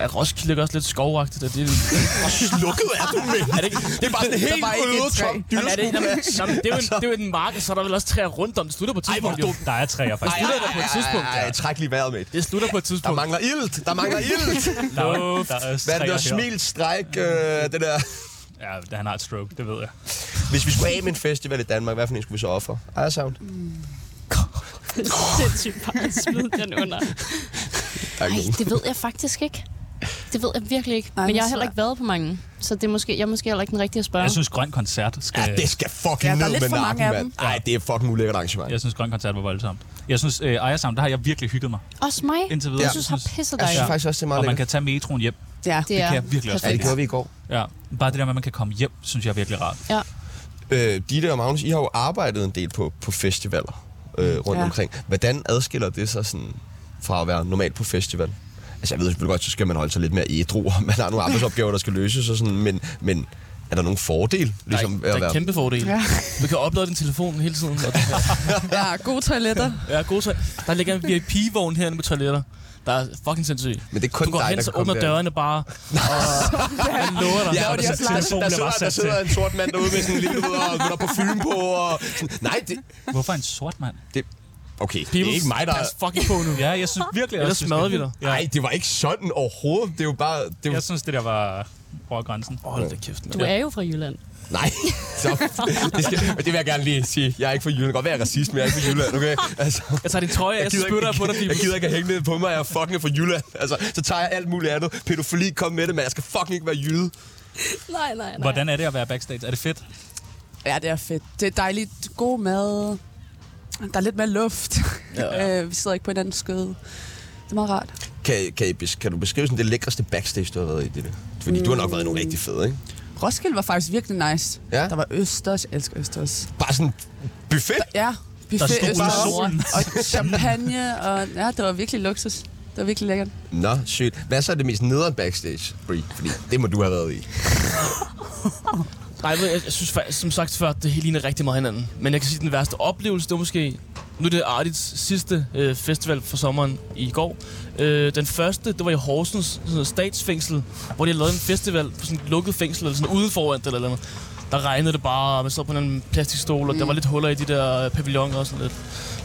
F: Ja, Roskilde er også lidt skovagtigt, og det er...
A: Hvor slukket er du, mænd?
F: er det ikke? Det er bare sådan
A: Der var ikke et træ.
F: Jamen, er det, jamen, jamen, det, er jo en, det er jo en mark, og så er der vel også træer rundt om. Det slutter på et
A: Altså. Ej, hvor
F: tidspunkt, jo.
B: Der er træer faktisk.
F: slutter da på et tidspunkt,
A: Ej,
F: ja.
A: træk lige vejret, mænd.
F: Det slutter på et
A: Der
F: tidspunkt.
A: mangler ilt! Der mangler ilt!
B: Der er, der er
A: Hvad er det der
B: træer her.
A: smil, stræk, øh, det der...
B: Ja, han har et stroke, det ved jeg.
A: Hvis vi skulle af med en festival i Danmark, hvad for en skulle vi så ofre? Ejersound?
E: Det er sindssygt bare at smide den under.
A: Der er ikke
E: Ej,
A: nogen.
E: det ved jeg faktisk ikke. Det ved jeg virkelig ikke.
C: Nej,
E: men
C: det
E: jeg
C: er
E: har heller
C: svært.
E: ikke været på mange. Så det er måske, jeg er måske heller ikke den rigtige at spørge.
B: Jeg synes, Grøn Koncert skal...
A: Ja, det skal fucking
C: Ja, der er
A: ned
C: lidt
A: med
C: for mange
A: nakken,
C: af
A: mand. Ej, det er fucking ulækkert arrangement.
B: Jeg synes, Grøn Koncert var voldsomt. Jeg synes, øh, Ejersound, der har jeg virkelig hygget mig.
E: Også mig.
B: Indtil videre.
E: Jeg synes, har pisset dig.
A: Jeg synes faktisk også, det er meget
B: Og man
A: lækkert.
B: kan tage metroen hjem.
C: Ja.
E: det,
B: kan jeg virkelig også
A: Ja, det
E: perfekt.
A: gjorde vi i går.
B: Ja. Bare det der med, at man kan komme hjem, synes jeg er virkelig rart.
E: Ja.
A: Øh, Ditte og Magnus, I har jo arbejdet en del på, på festivaler øh, rundt ja.
C: Ja.
A: omkring. Hvordan adskiller det sig sådan, fra at være normalt på festival? Altså, jeg ved selvfølgelig godt, så skal man holde sig lidt mere ædru, og man har nogle arbejdsopgaver, der skal løses og sådan, men, men er der nogen fordel? Ligesom,
F: der
A: ved
F: er,
A: at
F: der er
A: være...
F: kæmpe fordel.
C: Ja.
F: Ja. Du kan oplade din telefon hele tiden. Og
C: ja, gode toiletter.
F: ja, gode toilet. Der ligger en VIP-vogn herinde med toiletter. Der er fucking sindssygt.
A: Men det er kun
F: Du går
A: dig,
F: hen,
A: der
F: så
A: kan komme
F: åbner
A: derind.
F: dørene bare, og jeg lover dig.
A: Ja, og der,
F: der,
A: der, der,
F: telefonen
A: der,
F: er
A: sidder,
F: bare
A: der
F: sat til.
A: sidder en sort mand derude med sådan en lille, du ved, og der er parfume på, og sådan. Nej, det...
B: Hvorfor en sort mand?
A: det okay, det er
F: Peoples,
A: ikke mig, der...
F: Pas fucking på nu.
B: Ja, jeg synes virkelig
F: Ellers
B: det
F: smadrer
B: skal-
F: vi dig.
A: Nej, det var ikke sådan overhovedet. Det er jo bare... Det er jo...
B: Jeg synes, det der var over grænsen.
F: Hold da kæft, mand.
E: Du er jo fra Jylland.
A: Nej, så, det, skal, men det vil jeg gerne lige sige. Jeg er ikke fra Jylland. Det kan Godt være jeg er racist, men jeg er ikke fra Jylland, okay? Altså,
F: Jeg tager din trøje af,
A: jeg
F: så
A: gider,
F: spytter jeg på dig,
A: ikke, jeg
F: Pibels.
A: gider ikke at hænge ned på mig, jeg er fucking fra Jylland. Altså, så tager jeg alt muligt andet. Pædofili, kom med det, men jeg skal fucking ikke være jyde.
E: Nej, nej, nej.
B: Hvordan er det at være backstage? Er det fedt?
C: Ja, det er fedt. Det er dejligt. God mad. Der er lidt mere luft. Ja. øh, vi sidder ikke på hinandens skød. Det er meget rart.
A: Kan, kan, I, bes- kan du beskrive sådan det lækreste backstage, du har været i det der? Fordi mm. du har nok været i nogle rigtig fede, ikke?
C: Roskilde var faktisk virkelig nice.
A: Ja.
C: Der var Østers. Jeg elsker Østers.
A: Bare sådan buffet.
C: Ja,
B: Der stod
C: buffet
B: i
C: Østers.
B: solen.
C: Og champagne. Og, ja, det var virkelig luksus. Det var virkelig lækkert.
A: Nå, sygt. Hvad så er det mest nederen backstage, Brie? Fordi det må du have været i.
F: Nej, ved, jeg, jeg synes faktisk, som sagt før, det hele ligner rigtig meget hinanden. Men jeg kan sige, at den værste oplevelse, det var måske... Nu er det Ardits sidste øh, festival for sommeren i går. Øh, den første, det var i Horsens sådan noget statsfængsel, hvor de havde lavet en festival på sådan et lukket fængsel, eller sådan ude foran det eller et eller andet. Der regnede det bare, og man sad på en eller anden plastikstol, og mm. der var lidt huller i de der øh, pavilloner og sådan lidt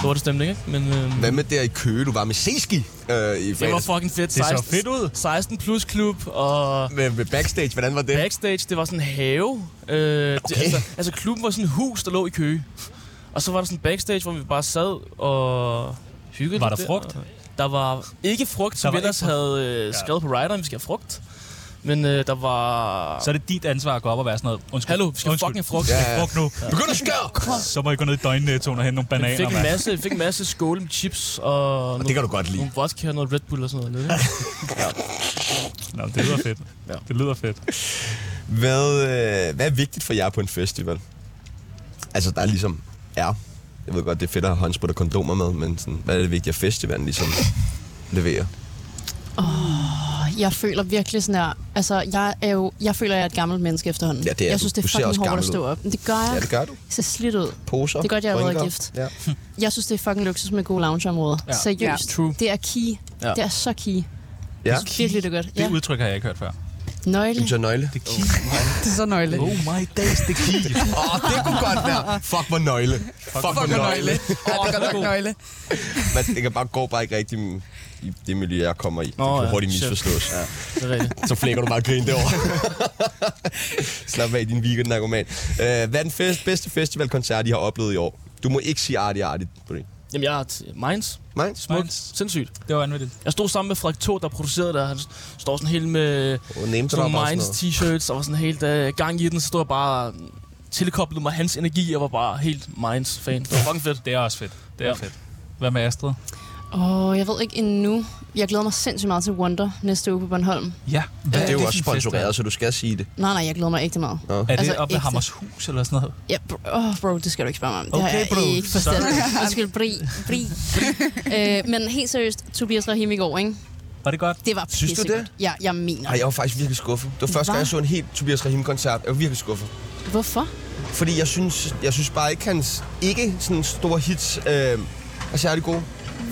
F: lortestemning, ikke? Men øh,
A: Hvad med der i Køge? Du var med Seski øh, i
F: det var
A: fredags.
F: fucking fedt.
B: Det så fedt ud.
F: 16 plus klub, og
A: Med, med backstage, hvordan var det?
F: Backstage, det var sådan en have. Øh, okay. det,
A: Okay.
F: altså, altså klubben var sådan et hus, der lå i kø. Og så var der sådan en backstage, hvor vi bare sad og hyggede
B: Var
F: lidt
B: der frugt?
F: og- Der var ikke frugt, som
B: var
F: vi ellers
B: ikke
F: havde øh, skrevet på rideren, vi skal have frugt. Men øh, der var...
B: Så er det dit ansvar at gå op og være sådan noget. Undskyld.
F: Hallo, vi skal
B: Undskyld.
F: fucking have frugt.
A: Ja,
F: Ja.
A: ja.
B: Fuck nu.
A: Begynd at skære!
B: Så må I gå ned i døgnnettoen og hente nogle
F: Vi
B: bananer,
F: fik en,
B: mand.
F: masse, vi fik en masse skåle med chips og, og
A: Det kan du godt lide.
F: nogle vodka og noget Red Bull og sådan noget. Lidt, ikke?
B: Nå, det lyder fedt.
F: Ja.
B: Det lyder fedt.
A: Hvad, øh, hvad er vigtigt for jer på en festival? Altså, der er ligesom er. Jeg ved godt, det er fedt at have håndsprit og kondomer med, men sådan, hvad er det vigtigt, at festivalen ligesom leverer?
E: Jeg føler virkelig sådan her... Altså, jeg er jo... Jeg føler, jeg er et gammelt menneske efterhånden.
A: Ja, det er
E: jeg
A: du.
E: synes, det
A: Du
E: er
A: ser
E: fucking
A: også
E: hårdt at
A: gammel
E: stå
A: ud.
E: op. Men det gør jeg.
A: Ja, det gør du.
E: Jeg ser slit ud.
A: Poser.
E: Det er godt, jeg allerede er
A: rynker.
E: gift.
A: Ja.
E: Jeg synes, det er fucking luksus med gode loungeområder. Ja.
B: Ja.
E: Seriøst.
C: Ja.
F: True.
E: Det er key.
F: Ja.
E: Ja. Det er så key.
A: ja.
E: Virkelig, det er godt.
B: Det
E: Ja.
B: udtryk har jeg ikke hørt før.
E: Nøgle.
A: En nøgle.
B: Det key.
C: Det er så nøgle.
B: Oh my days, det key.
A: Åh, oh, det kunne godt være. Fuck, hvor nøgle. Fuck,
B: hvor nøgle.
C: Ja, det er godt nok nøgle.
A: Man, det kan bare gå bare ikke rigtig i det miljø, jeg kommer i. Nå, det
F: Nå,
A: kan
F: ja.
A: hurtigt
F: Shit.
A: misforstås. Ja.
F: Det er rigtigt.
A: Så flækker du bare grin derovre. Slap af din weekend, narkoman. Øh, hvad er den fest, bedste festivalkoncert, I har oplevet i år? Du må ikke sige artig artigt på det.
F: Jamen, jeg er t- Minds.
A: Nej?
F: Smuk.
B: Minds.
F: Sindssygt.
B: Det var vanvittigt.
F: Jeg stod sammen med Frederik Tho, der producerede det, og han står sådan helt med
A: Og name
F: sådan
A: drop og
F: nogle
A: sådan
F: Minds
A: noget.
F: t-shirts, og var sådan helt øh, gang i den, så stod jeg bare mm, tilkoblet mig hans energi, og var bare helt Minds-fan. Det var fucking fedt.
B: Det er også fedt. Det er
F: Ja.
B: fedt. Hvad med Astrid?
E: Åh, oh, jeg ved ikke endnu. Jeg glæder mig sindssygt meget til Wonder næste uge på Bornholm.
B: Ja.
A: Ja, det er jo også sponsoreret, så du skal sige det.
E: Nej, nej, jeg glæder mig rigtig meget.
B: Er det
E: Altså,
B: oppe ved
E: ægte.
B: Hammershus eller sådan noget?
E: Ja, bro, oh, bro, det skal du ikke spørge mig om. Det
B: Okay,
E: har jeg
B: bro.
E: ikke forstået. Undskyld, bri. bri. øh, men helt seriøst, Tobias Rahim i går, ikke?
B: Var det godt?
E: Det var
A: Synes du
E: pissegodt.
A: det?
E: Ja, jeg mener.
A: Ej, jeg var faktisk virkelig skuffet. Det var første
E: Hva?
A: gang, jeg så en helt Tobias Rahim-koncert. Jeg var virkelig skuffet.
E: Hvorfor?
A: Fordi jeg synes, jeg synes bare ikke, hans ikke sådan store hits øh, er særlig gode.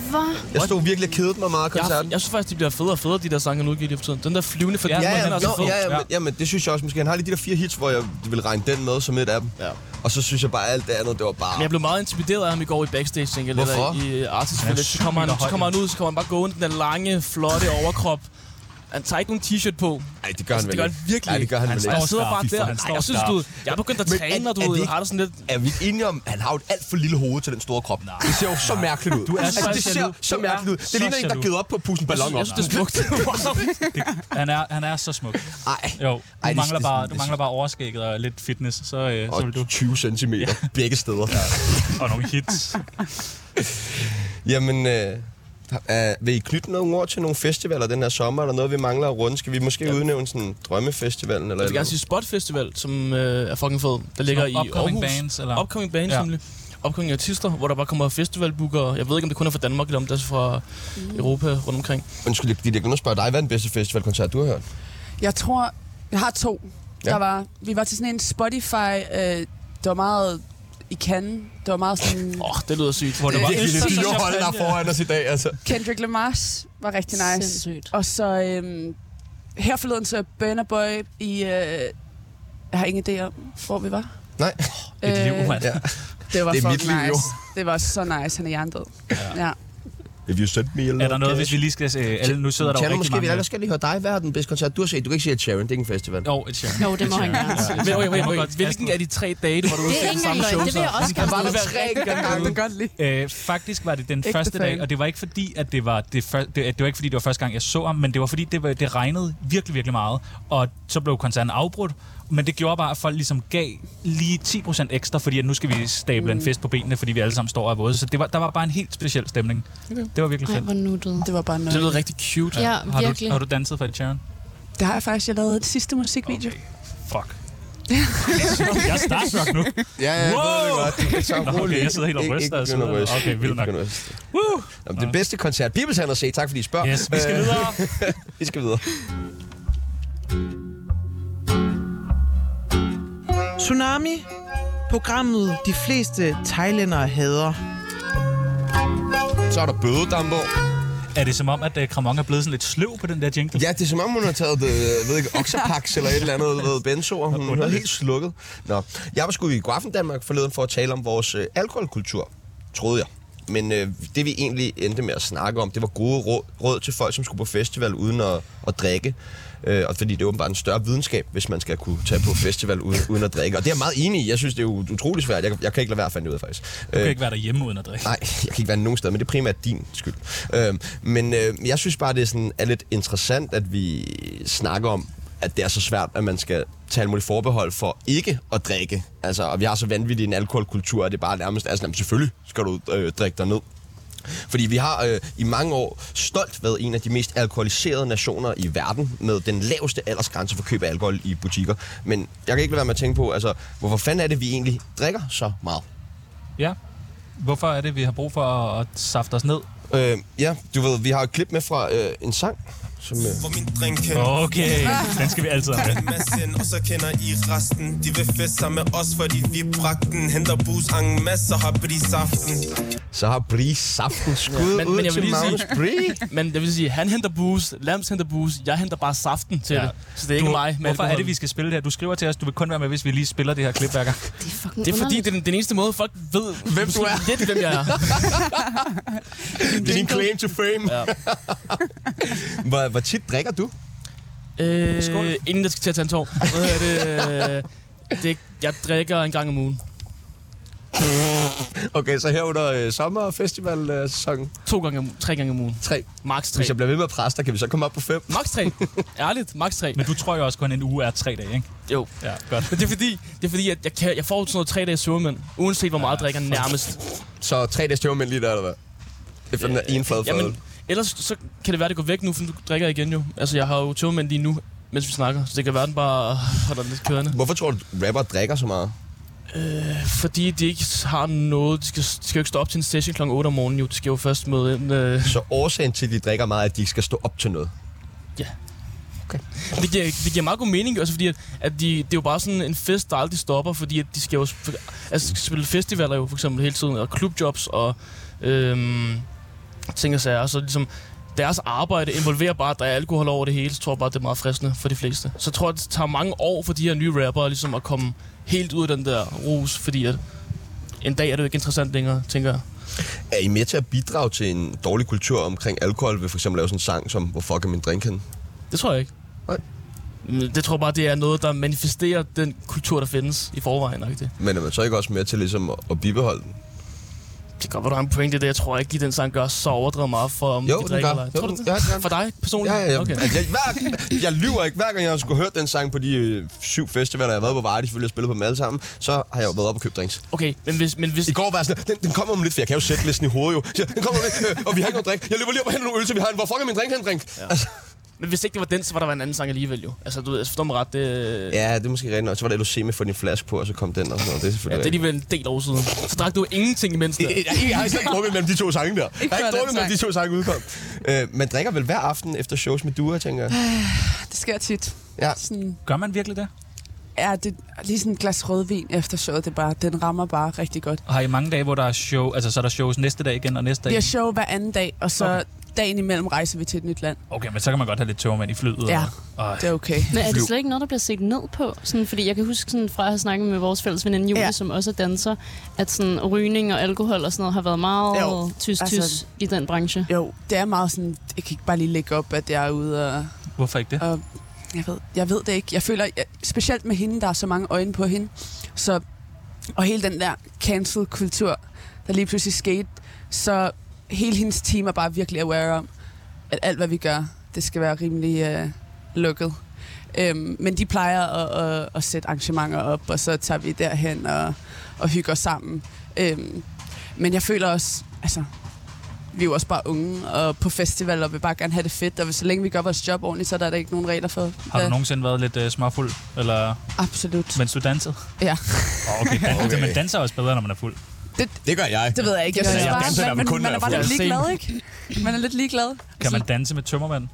E: Hvad?
A: Jeg stod virkelig og kedede mig meget af
F: Jeg,
A: koncerten.
F: jeg synes faktisk, de bliver federe og federe, de der sange, han udgiver lige for tiden. Den der flyvende fordi
B: Ja,
F: ja,
B: ja,
F: ja, den er
A: Nå,
F: så fed.
A: ja, ja,
B: Ja.
A: men, ja, men det synes jeg også måske. Han har lige de der fire hits, hvor jeg vil regne den med som et af dem.
F: Ja.
A: Og så synes jeg bare, at alt det andet, det var bare...
F: Men jeg blev meget intimideret af ham i går i backstage, tænker jeg. lidt,
A: Hvorfor?
F: I, i øh, Artist
B: Han er
F: Village. Så kommer,
B: sygt
F: han, så
B: høj.
F: kommer han ud, så kommer han bare gående, den der lange, flotte overkrop. Han tager ikke nogen t-shirt på.
A: Ej, det gør han
F: Altså, det
A: vel
F: gør han virkelig
A: Nej, det gør han,
B: Han
A: vel
B: står
A: ikke.
F: Jeg sidder
B: skarp,
F: bare
B: fy for
F: der.
B: han
F: Ej,
B: står
F: jeg synes,
B: skarp.
F: du... Jeg er begyndt at
A: Men
F: træne,
A: er-
F: og du
A: er det
F: ved,
A: ikke-
F: har det sådan lidt...
A: Er vi ikke enige om, at han har jo et alt for lille hoved til den store krop? Nej. Det ser jo så mærkeligt ud. Du
B: er
A: altså,
B: så
A: det ser
B: jaloux.
A: så
B: Du
A: mærkeligt
B: er
A: ud. Det
B: så
A: ligner en, der har
B: jaloux.
A: givet op på at pusse en
F: Jeg
A: ballon
F: synes,
A: op.
F: jeg synes, det er smukt.
B: Han er, han er så smuk.
A: Ej.
B: Jo, du,
A: Ej, det-
B: mangler,
A: det-
B: bare,
A: det-
B: du mangler bare overskægget og lidt fitness, så, øh, så vil du...
A: Og 20 cm begge steder.
B: Og nogle hits.
A: Jamen, øh, øh, vil I knytte nogle ord til nogle festivaler den her sommer? Er der noget, vi mangler at runde? Skal vi måske ja. udnævne sådan drømmefestivalen? Eller
F: Jeg vil gerne
A: noget?
F: sige Spot Festival, som øh, er fucking fed. Der ligger i
B: Upcoming
F: Aarhus.
B: bands, eller?
F: Upcoming bands,
B: Ja.
F: ja. nemlig. Opkommende artister, hvor der bare kommer festivalbookere. Jeg ved ikke, om det kun er fra Danmark, eller om det er fra Europa rundt omkring.
A: Undskyld, jeg glemte at spørge dig. Hvad er den bedste festivalkoncert, du har hørt?
C: Jeg tror, jeg har to.
A: Ja.
C: Ja. Der var, vi var til sådan en Spotify, øh, det var meget i Cannes, det var meget sådan... Øh,
F: Åh, oh, det lyder sygt.
B: Hvor det var
A: Det er
B: så-
A: virkelig
B: så-
A: det dyre
B: så-
A: hold, der er foran os i dag, altså.
C: Kendrick Lamar's var rigtig nice.
E: Sindssygt.
C: Og så øhm, her forleden så Burna Boy i... Øh, jeg har ingen idé om, hvor vi var.
A: Nej.
B: Et liv,
C: Øh,
B: mand.
A: Ja.
C: Det var
A: Det er mit
C: fucking
A: liv, jo.
C: nice. Det var så nice, han er jerndød. Ja. ja.
A: If you sent me
B: Er der noget, hvis vi lige skal... Øh, alle, nu sidder der jo
A: Tjerno,
B: rigtig
A: måske
B: mange...
A: vi skal lige høre dig. Hvad er den bedste koncert, du har set? Du kan ikke sige, at Sharon, det er ikke en festival.
B: Jo, et sjovt.
E: Jo, det må han gerne.
F: Men, okay, okay, okay.
B: godt-
F: Hvilken af de tre dage, du var ude
E: Det er
F: til
E: ikke
F: samme
E: engang
F: show?
E: løgn. Det vil jeg også gerne.
F: Bare være rigtig
C: Jeg
F: gerne
C: kan godt lide.
B: Øh, faktisk var det den
C: Ægte
B: første
C: fan.
B: dag, og det var ikke fordi, at det var, det, før, det, det var ikke fordi, det var første gang, jeg så ham, men det var fordi, det, var, det regnede virkelig, virkelig meget, og så blev koncerten afbrudt, men det gjorde bare, at folk ligesom gav lige 10% ekstra, fordi at nu skal vi stable mm. en fest på benene, fordi vi alle sammen står og er våde. Så det var, der var bare en helt speciel stemning. Okay. Det var virkelig
E: Ej,
B: fedt.
E: hvor nuttet.
C: Det var bare
F: Det
C: noget.
F: lyder rigtig cute.
E: Ja,
B: har, du,
E: virkelig.
B: har du danset for det, Sharon?
C: Det har jeg faktisk, jeg lavede det sidste musikvideo. Okay.
B: Fuck. jeg er starstruck nu.
A: Ja, ja,
B: Wow!
A: godt. Det er så
B: Nå, okay, jeg sidder helt og ryster,
A: Ikke
B: altså.
A: begynder at ryste.
B: Okay, vildt
A: Ikke
B: nok.
A: begynder at ryste.
B: Woo!
A: Jamen, det bedste koncert, Bibels har set. Tak fordi I spørger.
B: Yes, vi skal
A: Øh,
B: videre.
A: Vi skal videre.
D: Tsunami, programmet de fleste thailændere hader.
A: Så er der bødedamper.
B: Er det som om, at øh, Kramon er blevet sådan lidt sløv på den der jingle?
A: Ja, det er som om, hun har taget, øh, ved ikke, Oxapax eller et eller andet, du ved, benzo, og hun er helt slukket. Nå, jeg var sgu i Godaften Danmark forleden for at tale om vores øh, alkoholkultur, troede jeg. Men øh, det vi egentlig endte med at snakke om, det var gode råd, råd til folk, som skulle på festival uden at, at drikke. Øh, og fordi det er åbenbart en større videnskab, hvis man skal kunne tage på festival uden, uden at drikke. Og det er jeg meget enig i. Jeg synes, det er jo utrolig svært. Jeg, jeg kan ikke lade være at finde ud af, faktisk.
B: Du kan ikke være derhjemme uden at drikke.
A: Nej, jeg kan ikke være nogen steder, men det er primært din skyld. Øhm, men øh, jeg synes bare, det er, sådan, er lidt interessant, at vi snakker om, at det er så svært, at man skal tage alle mulige forbehold for ikke at drikke. Altså, og vi har så vanvittig en alkoholkultur, at det bare nærmest er sådan, jamen, selvfølgelig skal du øh, drikke dig ned. Fordi vi har øh, i mange år stolt været en af de mest alkoholiserede nationer i verden, med den laveste aldersgrænse for køb af alkohol i butikker. Men jeg kan ikke lade være med at tænke på, altså, hvorfor fanden er det, vi egentlig drikker så meget?
B: Ja. Hvorfor er det, vi har brug for at, at safte os ned
A: Øh, ja, du ved, vi har et klip med fra øh, en sang. Som, øh,
G: Hvor min drink hen
B: Okay, den skal vi altid have. med.
G: en masse ind, og så kender I resten De vil feste sammen med os, fordi vi bragte den Henter bus, ang masse og hopper i saften
A: så har Brie saften skud ja,
F: men-
A: ud
F: men jeg
A: til
F: vil lige sige-
A: Magnus Brie.
F: Men jeg vil sige, han henter booze, Lams henter booze, jeg henter bare saften til
B: Ja.
F: ja. det. Så det er ikke
B: Du-
F: mig. med
B: Hvorfor er det, vi
F: alkoholen.
B: skal spille det her? Du skriver til os, du vil kun være med, hvis vi lige spiller det her klip hver gang.
E: Det er fucking
F: Det er fordi,
E: underligt.
F: det er den, den eneste måde, folk ved,
A: Hvem du er.
F: lidt, hvem jeg er.
A: Det er din claim to fame. Ja. hvor, hvor tit drikker du?
F: Øh,
B: Skål.
F: inden jeg skal til at tage en tår. Hvad hedder det? Øh, det? Jeg drikker en gang om ugen.
A: Okay, så her under øh, sommerfestivalsæsonen,
F: To gange om ugen. Tre gange om ugen.
A: tre.
F: Max tre.
A: Hvis jeg bliver ved med at presse dig, kan vi så komme op på fem?
F: Max tre. Ærligt, max tre.
B: Men du tror jo også kun, en uge er tre dage, ikke?
F: Jo.
B: Ja, godt.
F: Men det er fordi, det er fordi at jeg, kan, jeg får sådan noget tre dage søvnmænd, uanset hvor meget jeg drikker nærmest.
A: Så tre dages tøvmænd lige der, eller hvad? Det er den en flad fadøl.
F: Øh, Jamen, ellers så kan det være, det går væk nu, for du drikker igen jo. Altså, jeg har jo tøvmænd lige nu, mens vi snakker, så det kan være, den bare holder den lidt kørende.
A: Hvorfor tror du, rapper drikker så meget?
F: Fordi de ikke har noget, de skal, de skal jo ikke stå op til en session kl. 8 om morgenen jo, de skal jo først møde ind. Øh,
A: Så årsagen til, at de drikker meget, er, at de ikke skal stå op til noget.
F: det, giver, det giver meget god mening, altså fordi at, at de, det er jo bare sådan en fest, der aldrig stopper, fordi at de skal jo sp- altså, skal spille festivaler jo for eksempel hele tiden, og klubjobs og øhm, ting og sager. Så ligesom, deres arbejde involverer bare, at der er alkohol over det hele, så tror jeg bare, at det er meget fristende for de fleste. Så jeg tror, at det tager mange år for de her nye rappere ligesom at komme helt ud af den der rus, fordi at en dag er det jo ikke interessant længere, tænker jeg.
A: Er I med til at bidrage til en dårlig kultur omkring alkohol ved for eksempel lave sådan en sang som Hvor fuck er min drink henne?
F: Det tror jeg ikke.
A: Nej.
F: Mm, Det tror jeg bare, det er noget, der manifesterer den kultur, der findes i forvejen. Ikke det?
A: Men er man så ikke også med til ligesom at, at bibeholde den?
F: det kan godt være, du har en pointe i det. Jeg tror ikke, at den sang gør så overdrevet meget for, om
A: Jo,
F: de
A: den
F: drikker
A: gør.
F: eller ej.
A: Jo,
F: Tror du
A: den-
F: det?
A: ja, den gør.
F: For dig personligt?
A: Ja, ja, ja.
F: Okay.
A: Okay. Jeg, hver, jeg lyver ikke. Hver gang jeg skulle have hørt den sang på de øh, syv festivaler, jeg har været på Vardy, selvfølgelig har jeg spillet på dem alle sammen, så har jeg jo været op og købt drinks.
F: okay, men hvis... Men hvis
A: I går var jeg sådan, den, den kommer om lidt, for jeg kan jo sætte listen i hovedet jo. Så jeg, den kommer om lidt, øh, og vi har ikke noget drik. Jeg løber lige op og henter nogle øl, så vi har en. Hvor fuck er min drink, den drink? Ja. Altså,
F: men hvis ikke det var den, så var der en anden sang alligevel jo. Altså, du ved, altså, forstår mig ret, det, ja.
A: ja, det er måske rigtigt nok. Så var der LOC med for din flaske på, og så kom den og sådan noget. Det er
F: Ja, det
A: selvfølgelig
F: er
A: rigtigt.
F: alligevel en del år siden. Så drak du ingenting imens der.
A: Jeg, jeg, jeg har slet ikke drukket mellem de to sange der. Jeg har
C: før
A: ikke
C: den
A: drukket mellem de to sange udkom. Øh, man drikker vel hver aften efter shows med duer, tænker jeg.
C: Det sker tit.
A: Ja.
C: Sådan,
B: Gør man virkelig det?
C: ja, det er lige sådan et glas rødvin efter showet. Det er bare, den rammer bare rigtig godt.
B: Og har I mange dage, hvor der er show, altså så er der shows næste dag igen og næste dag?
C: Vi har
B: igen?
C: show hver anden dag, og så
B: Okay.
C: okay. dagen imellem rejser vi til et nyt land.
B: Okay, men så kan man godt have lidt tøvmænd i flyet.
C: Ja.
B: Og, og,
C: Det er okay.
E: Men er det slet ikke noget, der bliver set ned på? Sådan, fordi jeg kan huske sådan, fra at have snakket med vores fælles veninde Julie, ja.
C: Ja.
E: som også er danser, at sådan, rygning og alkohol og sådan noget har været
C: Jo,
E: meget tysk-tysk altså,
C: altså-
E: i den branche.
C: Jo, det er meget sådan, jeg kan ikke bare lige lægge op, at jeg er ude og...
B: hvorfor ikke det?
C: og jeg, ved, jeg ved det ikke. Jeg føler, jeg, specielt med hende, der er så mange øjne på hende, så, og hele den der cancel-kultur, der lige pludselig skete, så hele hendes team er bare virkelig aware om, at alt, hvad vi gør, det skal være rimelig øh, lukket. Øhm, men de plejer at, at, at sætte arrangementer op, og så tager vi derhen og, og hygger os sammen. Øhm, men jeg føler også, altså, vi er jo også bare unge og på festival og vil bare gerne have det fedt. Og så længe vi gør vores job ordentligt, så er der ikke nogen regler for
B: Har du nogensinde været lidt uh, småfuld, eller
C: Absolut. Men...
B: mens du dansede?
C: Ja.
B: Åh, Okay, dan- okay.
A: Okay.
B: man danser også bedre, når man er fuld.
A: Det gør jeg.
C: Det ved jeg ikke. Jeg
E: Det
C: synes
E: gør jeg.
C: bare,
E: Jeg
A: danser, når man
C: man,
A: kun
C: man, man
A: er
C: er bare lidt
F: fuld.
C: ligeglad, ikke? Man er lidt ligeglad.
B: Kan man danse med tømmermand?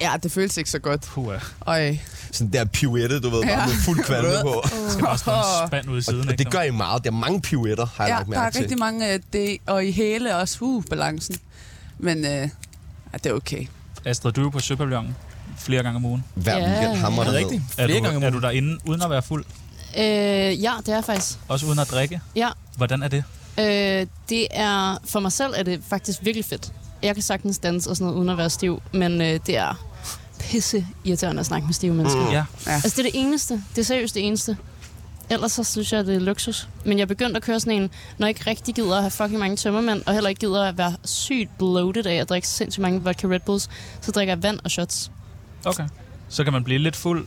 C: Ja, det føles ikke så godt.
B: Puh, jeg
C: Øj.
A: Sådan der pirouette, du ved, bare
C: Ja.
A: med fuld kvalme på.
B: skal bare stå en spand ud i siden.
A: Og
B: ikke,
A: det gør I meget. Der er mange pirouetter, har jeg
C: Ja,
A: lagt
C: der
A: mærke
C: er
A: til.
C: rigtig mange øh, det, og i hæle også. Uh, balancen. Men øh, ja, det er okay.
B: når- Astrid, du er jo på Søpavillonen flere gange om ugen.
A: Hver
E: Ja.
A: weekend hammer
F: Er
A: der
F: det
A: ned.
F: rigtigt?
B: Er
F: Flere
B: du,
F: gange om
B: er
F: ugen.
B: du derinde uden at være fuld?
E: Øh, ja, det er faktisk.
B: Også uden at drikke?
E: Ja.
B: Hvordan er det?
E: Øh, det er, for mig selv er det faktisk virkelig fedt. Jeg kan sagtens danse og sådan noget, uden at være stiv, men øh, det er pisse irriterende at snakke med stive mennesker.
B: Ja.
E: Altså, det er det eneste. Det er seriøst det eneste. Ellers så synes jeg, det er luksus. Men jeg begyndte at køre sådan en, når jeg ikke rigtig gider at have fucking mange tømmermænd, og heller ikke gider at være sygt bloated af at drikke sindssygt mange vodka Red Bulls, så drikker jeg vand og shots.
B: Okay. Så kan man blive lidt fuld.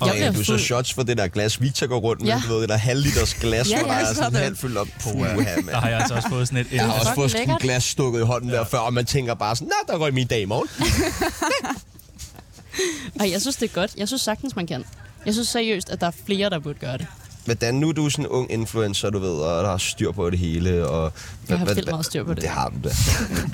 E: Jeg
A: Og
E: bliver
A: du så
E: fuld.
A: shots for det der glas, Victor går rundt med,
E: Ja.
A: du ved, det der halvliters glas,
E: Ja,
A: ja,
E: ja,
A: hvor der er sådan
C: sådan.
A: halvt fyldt op. Puh,
B: Der har jeg altså også fået sådan et...
A: Jeg har
E: Det er
A: også fået
E: fucking
A: sådan et
E: lækkert.
A: glas stukket i hånden der før, og man tænker bare sådan, nej, der går min dag i morgen.
E: Og jeg synes, det er godt. Jeg synes sagtens, man kan. Jeg synes seriøst, at der er flere, der burde gøre det.
A: hvordan nu er du sådan en ung influencer, du ved, og der har styr på det hele. Og,
E: Jeg har
A: hvad-
E: vildt
A: hvad-
E: meget styr på det.
A: Det har du da.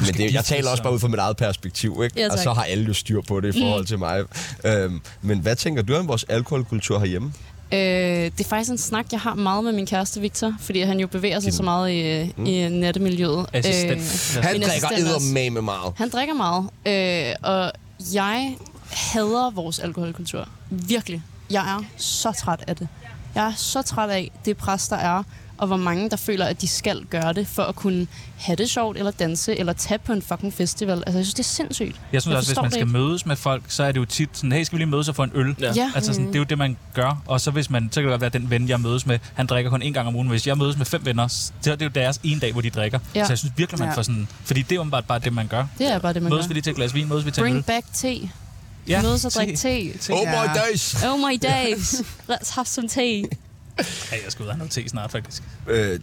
A: Men det, jeg taler også bare ud fra mit eget perspektiv, ikke?
E: Ja, tak. Mm.
A: og så har alle jo styr på det i forhold til mig. Øhm, men hvad tænker du om vores alkoholkultur herhjemme?
E: Øh, det er faktisk en snak, jeg har meget med min kæreste Victor, fordi han jo bevæger sig så meget i, mm. i nattemiljøet.
B: Assistent.
E: Øh,
A: Han
E: min
A: drikker
E: assistent også.
A: eddermame meget.
E: Han drikker meget, øh, og jeg hader vores alkoholkultur. Virkelig. Jeg er så træt af det. Jeg er så træt af det pres, der er, og hvor mange, der føler, at de skal gøre det, for at kunne have det sjovt, eller danse, eller tage på en fucking festival. Altså, jeg synes, det er sindssygt.
B: Jeg synes jeg også,
E: forstår
B: hvis man
E: det
B: skal
E: ikke.
B: mødes med folk, så er det jo tit sådan, hey, skal vi lige mødes og få en øl?
F: Ja.
E: Ja.
B: Altså sådan, det er jo det, man gør. Og så, hvis man, så kan det godt være, at den ven, jeg mødes med, han drikker kun en gang om ugen. Hvis jeg mødes med fem venner, så er det jo deres en dag, hvor de drikker.
E: Ja.
B: Ja. Så jeg synes virkelig, man
C: Ja.
B: får sådan... Fordi det er åbenbart bare det, man gør.
E: Det er bare det, man gør.
B: Mødes vi lige til et glas vin, mødes vi til en øl.
E: Bring back tea. Ja, mødes og drikke te.
A: Oh my
C: Ja.
A: days!
E: Oh my days. Let's have some tea.
B: Ja, jeg skal ud og have noget te snart, faktisk.
A: Øh,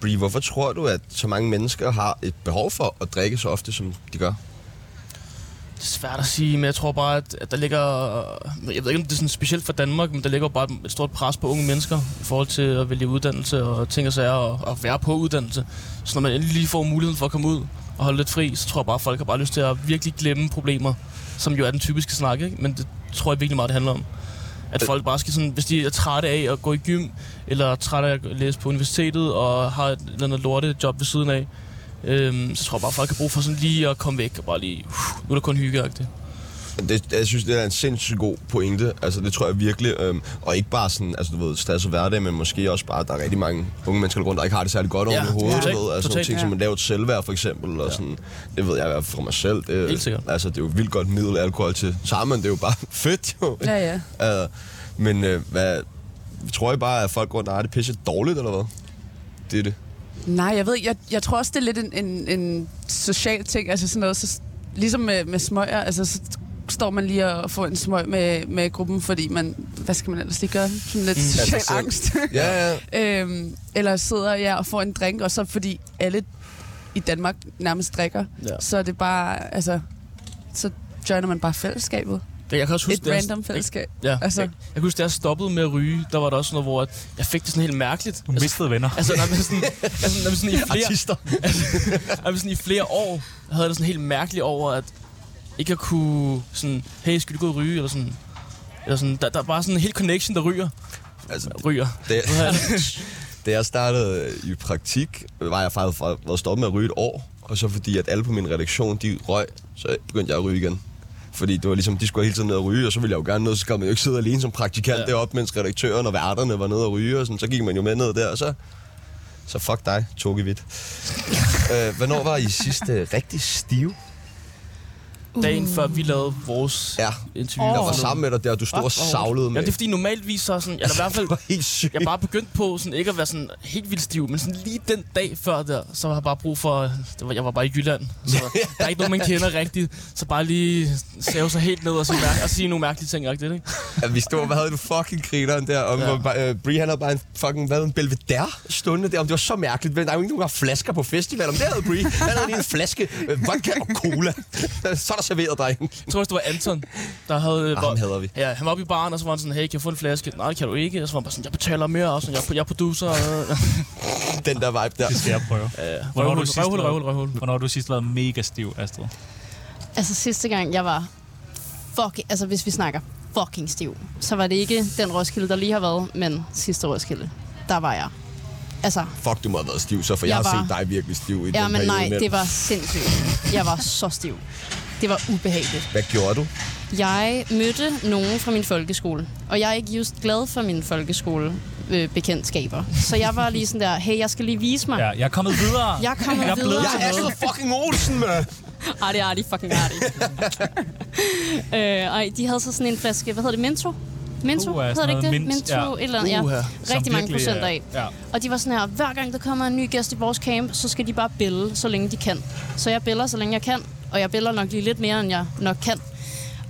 A: Brie, hvorfor tror du, at så mange mennesker har et behov for at drikke så ofte, som de gør?
F: Det er svært at sige, men jeg tror bare, at, at der ligger... Jeg ved ikke, om det er sådan specielt for Danmark, men der ligger jo bare et stort pres på unge mennesker i forhold til at vælge uddannelse og ting og sager og, og være på uddannelse. Så når man endelig lige får muligheden for at komme ud og holde lidt fri, så tror jeg bare, at folk har bare lyst til at virkelig glemme problemer, som jo er den typiske snak, ikke? men det tror jeg virkelig meget, det handler om. At folk bare skal sådan, hvis de er trætte af at gå i gym, eller er trætte af at læse på universitetet, og har et eller andet lorte job ved siden af, øhm, så tror jeg bare, folk har brug for sådan lige at komme væk og bare lige, uh, nu er der kun hyggeagtigt.
A: Det, jeg synes, det er en sindssygt god pointe. Altså, det tror jeg virkelig. Øhm, og ikke bare sådan, altså, du ved, stress og hverdag, men måske også bare, at der er rigtig mange unge mennesker rundt, der ikke har det særlig godt
F: Ja,
A: ja, over hovedet.
F: totalt,
A: du ved, altså, nogle
F: totalt,
A: ting,
F: ja.
A: som man lavt selvværd, for eksempel. Og sådan, det ved jeg i hvert fald fra mig selv. Det,
F: Helt sikkert.
A: Altså, det er jo et vildt godt middel alkohol til sammen. Det er jo bare fedt, jo.
C: Ja, ja.
A: Uh, men øh, hvad, tror I bare, at folk rundt og har det pisse dårligt, eller hvad? Det er det.
C: Nej, jeg ved ikke. Jeg, jeg tror også, det er lidt en, en, en social ting. Altså sådan noget, så, ligesom med, med smøger, altså så står man lige og får en smøg med, med gruppen, fordi man, hvad skal man ellers lige gøre? Sådan lidt mm,
A: altså,
C: social altså,
A: så-
C: angst.
A: Ja, ja.
C: øhm, eller sidder jeg og får en drink, og så fordi alle i Danmark nærmest drikker,
F: Ja.
C: så er det bare, altså, så joiner man bare fællesskabet.
F: Jeg kan også huske,
C: Et
F: da jeg-
C: random fællesskab.
F: Ja,
C: Altså.
F: altså. jeg, jeg kan huske, da jeg stoppede med at ryge, der var der også noget, hvor at jeg fik det sådan helt mærkeligt.
B: Du mistede venner.
F: Altså, når man sådan, altså, når man sådan i flere, Altså,
A: Artister.
F: Og sådan i flere år havde jeg det sådan helt mærkeligt over, at ikke at kunne sådan, hey, skal du gå og ryge? Eller sådan, eller sådan der, der er bare sådan en helt connection, der ryger.
A: Altså,
F: ryger.
A: det,
F: Nu har jeg-
A: Da jeg startede øh, i praktik, var jeg faktisk fra- været stoppet med at ryge et år, og så fordi at alle på min redaktion, de røg, så begyndte jeg at ryge igen. Fordi det var ligesom, de skulle hele tiden ned og ryge, og så ville jeg jo gerne ned, så skal man jo ikke sidde alene som praktikant ja.
F: Ja.
A: deroppe, mens redaktøren og værterne var nede og ryge, og sådan, så gik man jo med ned der, og så, så fuck dig, Toge Hvidt. øh, hvornår var I sidst øh, rigtig stive?
F: Dagen før vi lavede vores
A: Ja,
F: interview.
A: jeg var sammen med dig der, og du stod og savlede
F: Ja,
A: med.
F: det er fordi normalvis så er sådan, eller i hvert fald,
A: det var helt sygt.
F: jeg er bare begyndt på sådan, ikke at være sådan helt vildt stiv, men sådan lige den dag før der, så har jeg bare brug for, det var, jeg var bare i Jylland, så der er ikke nogen, man kender rigtigt, så bare lige save sig helt ned og, sige, mær- og sige nogle mærkelige ting, rigtigt, ikke?
A: at vi stod, hvad havde du fucking grineren der, og
F: Ja.
A: ja. øh, Brie han havde bare en fucking, hvad en Belvedere stående der, om det var så mærkeligt, men der er jo ikke nogen, der har flasker på festival, om det havde Brie, han havde lige en flaske øh, vodka og cola, så er der serveret drenge.
F: Jeg tror også, det var Anton, der havde...
A: Ah,
F: var-
A: ham hader vi.
F: Ja, han var oppe i baren, og så var han sådan, hey, kan jeg få en flaske? Nej, det kan du ikke. Og så var han bare sådan, jeg betaler mere, og sådan, jeg, jeg er producer. Og,
A: Den der vibe der.
B: Det skal jeg prøve. Hvornår har
F: røvhul,
B: du sidst
F: røvhul,
B: været-
F: røvhul, røvhul.
B: Hvornår har du sidst været mega stiv, Astrid?
E: Altså sidste gang, jeg var fuck, altså hvis vi snakker fucking stiv, så var det ikke den Roskilde, der lige har været, men sidste Roskilde, der var jeg. Altså,
A: Fuck, du må have været stiv så, for jeg,
E: Jeg
A: jeg har
E: var-
A: set dig virkelig stiv i den
E: ja, men
A: periode.
E: nej,
A: imellem.
E: det var sindssygt. Jeg var så stiv. Det var ubehageligt.
A: Hvad gjorde du?
E: Jeg mødte nogen fra min folkeskole, og jeg er ikke just glad for mine folkeskolebekendtskaber. Så jeg var lige sådan der, hey, jeg skal lige vise mig.
B: Ja, jeg er kommet videre.
E: Jeg er kommet
B: jeg er blevet
E: videre.
A: Jeg er
E: Jeg
A: Astrid fucking Olsen, mand!
E: Arti, arti, fucking arti. øh, ej, de havde så sådan en flaske, hvad hedder det, Mento? Mento,
B: Uh,
E: uh,
B: sådan
E: hedder det ikke
B: noget
E: det?
B: mint,
E: Mento,
B: ja.
E: et eller andet, ja.
F: Uha,
E: Rigtig
B: som
E: mange
B: virkelig,
E: procent
B: øh,
E: af.
B: ja.
E: Og de var sådan her, hver gang der kommer en ny gæst i vores camp, så skal de bare bille, så længe de kan. Så jeg biller, så længe jeg kan, og jeg biller nok lige lidt mere, end jeg nok kan.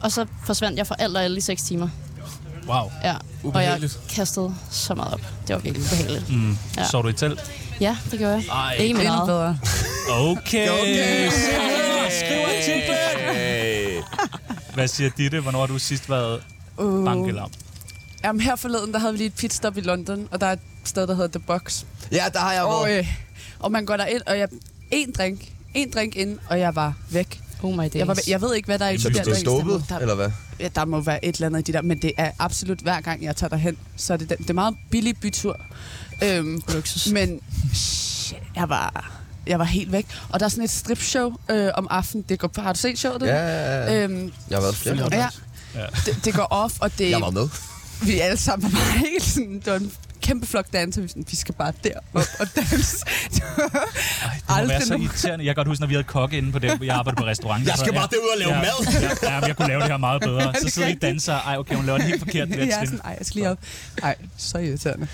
E: Og så forsvandt jeg fra alt og alle i 6 timer.
B: Wow.
E: Ja. Og jeg
F: Ubehageligt.
E: kastede så meget op. Det var virkelig ubehageligt. Mm. Ja.
B: Sov du i telt?
E: Ja, det gjorde jeg.
B: Ej.
E: Ikke
C: Det
E: med
C: er endnu
E: meget.
C: bedre.
B: Okay. okay. Skriver til
A: Hey.
B: Hvad siger Ditte? Hvornår har du sidst været bankelam?
C: Jamen, her forleden, der havde vi lige et pitstop i London, og der er et sted, der hedder The Box.
A: Ja, der har jeg
C: Og,
A: været.
C: øh, og man går derind, og jeg... En drink. En drink ind, og jeg var væk.
E: Oh my days.
C: Jeg, var, jeg ved ikke, hvad der er i de
A: Så
C: der
A: du er
C: drinks. Der, må-
A: stoppet,
C: der,
A: eller hvad?
C: ja, der må være et eller andet i de der, men det er absolut hver gang, jeg tager derhen. Så er det, den, det er meget billig bytur. Øhm,
E: Luksus.
C: men shit, jeg var, jeg var helt væk. Og der er sådan et stripshow øh, om aftenen. Det går på, har du set showet?
A: Ja, ja, ja.
C: Øhm,
A: Jeg har været flere gange.
C: ja. Det, det går off, og det,
A: Jeg var med.
C: vi alle sammen var bare helt sådan, det var en kæmpe flok danser, vi, var sådan, vi skal bare derop og danse. Det var
B: Det må være
C: aldrig
B: så
C: nogen-
B: irriterende. Jeg kan godt huske, når vi havde kokke inde på det, jeg arbejdede på restaurant.
A: Jeg skal
B: Så-
A: bare derud og lave
B: ja,
A: mad.
B: Ja, ja, men jeg kunne lave det her meget bedre.
C: det
B: Så
C: er
B: sidder I
C: rigtigt.
B: danser, ej okay, hun laver den helt forkert, det
C: Jeg
B: der
C: er
B: trin.
C: sådan, ej, jeg skal lige op. Ej, så irriterende.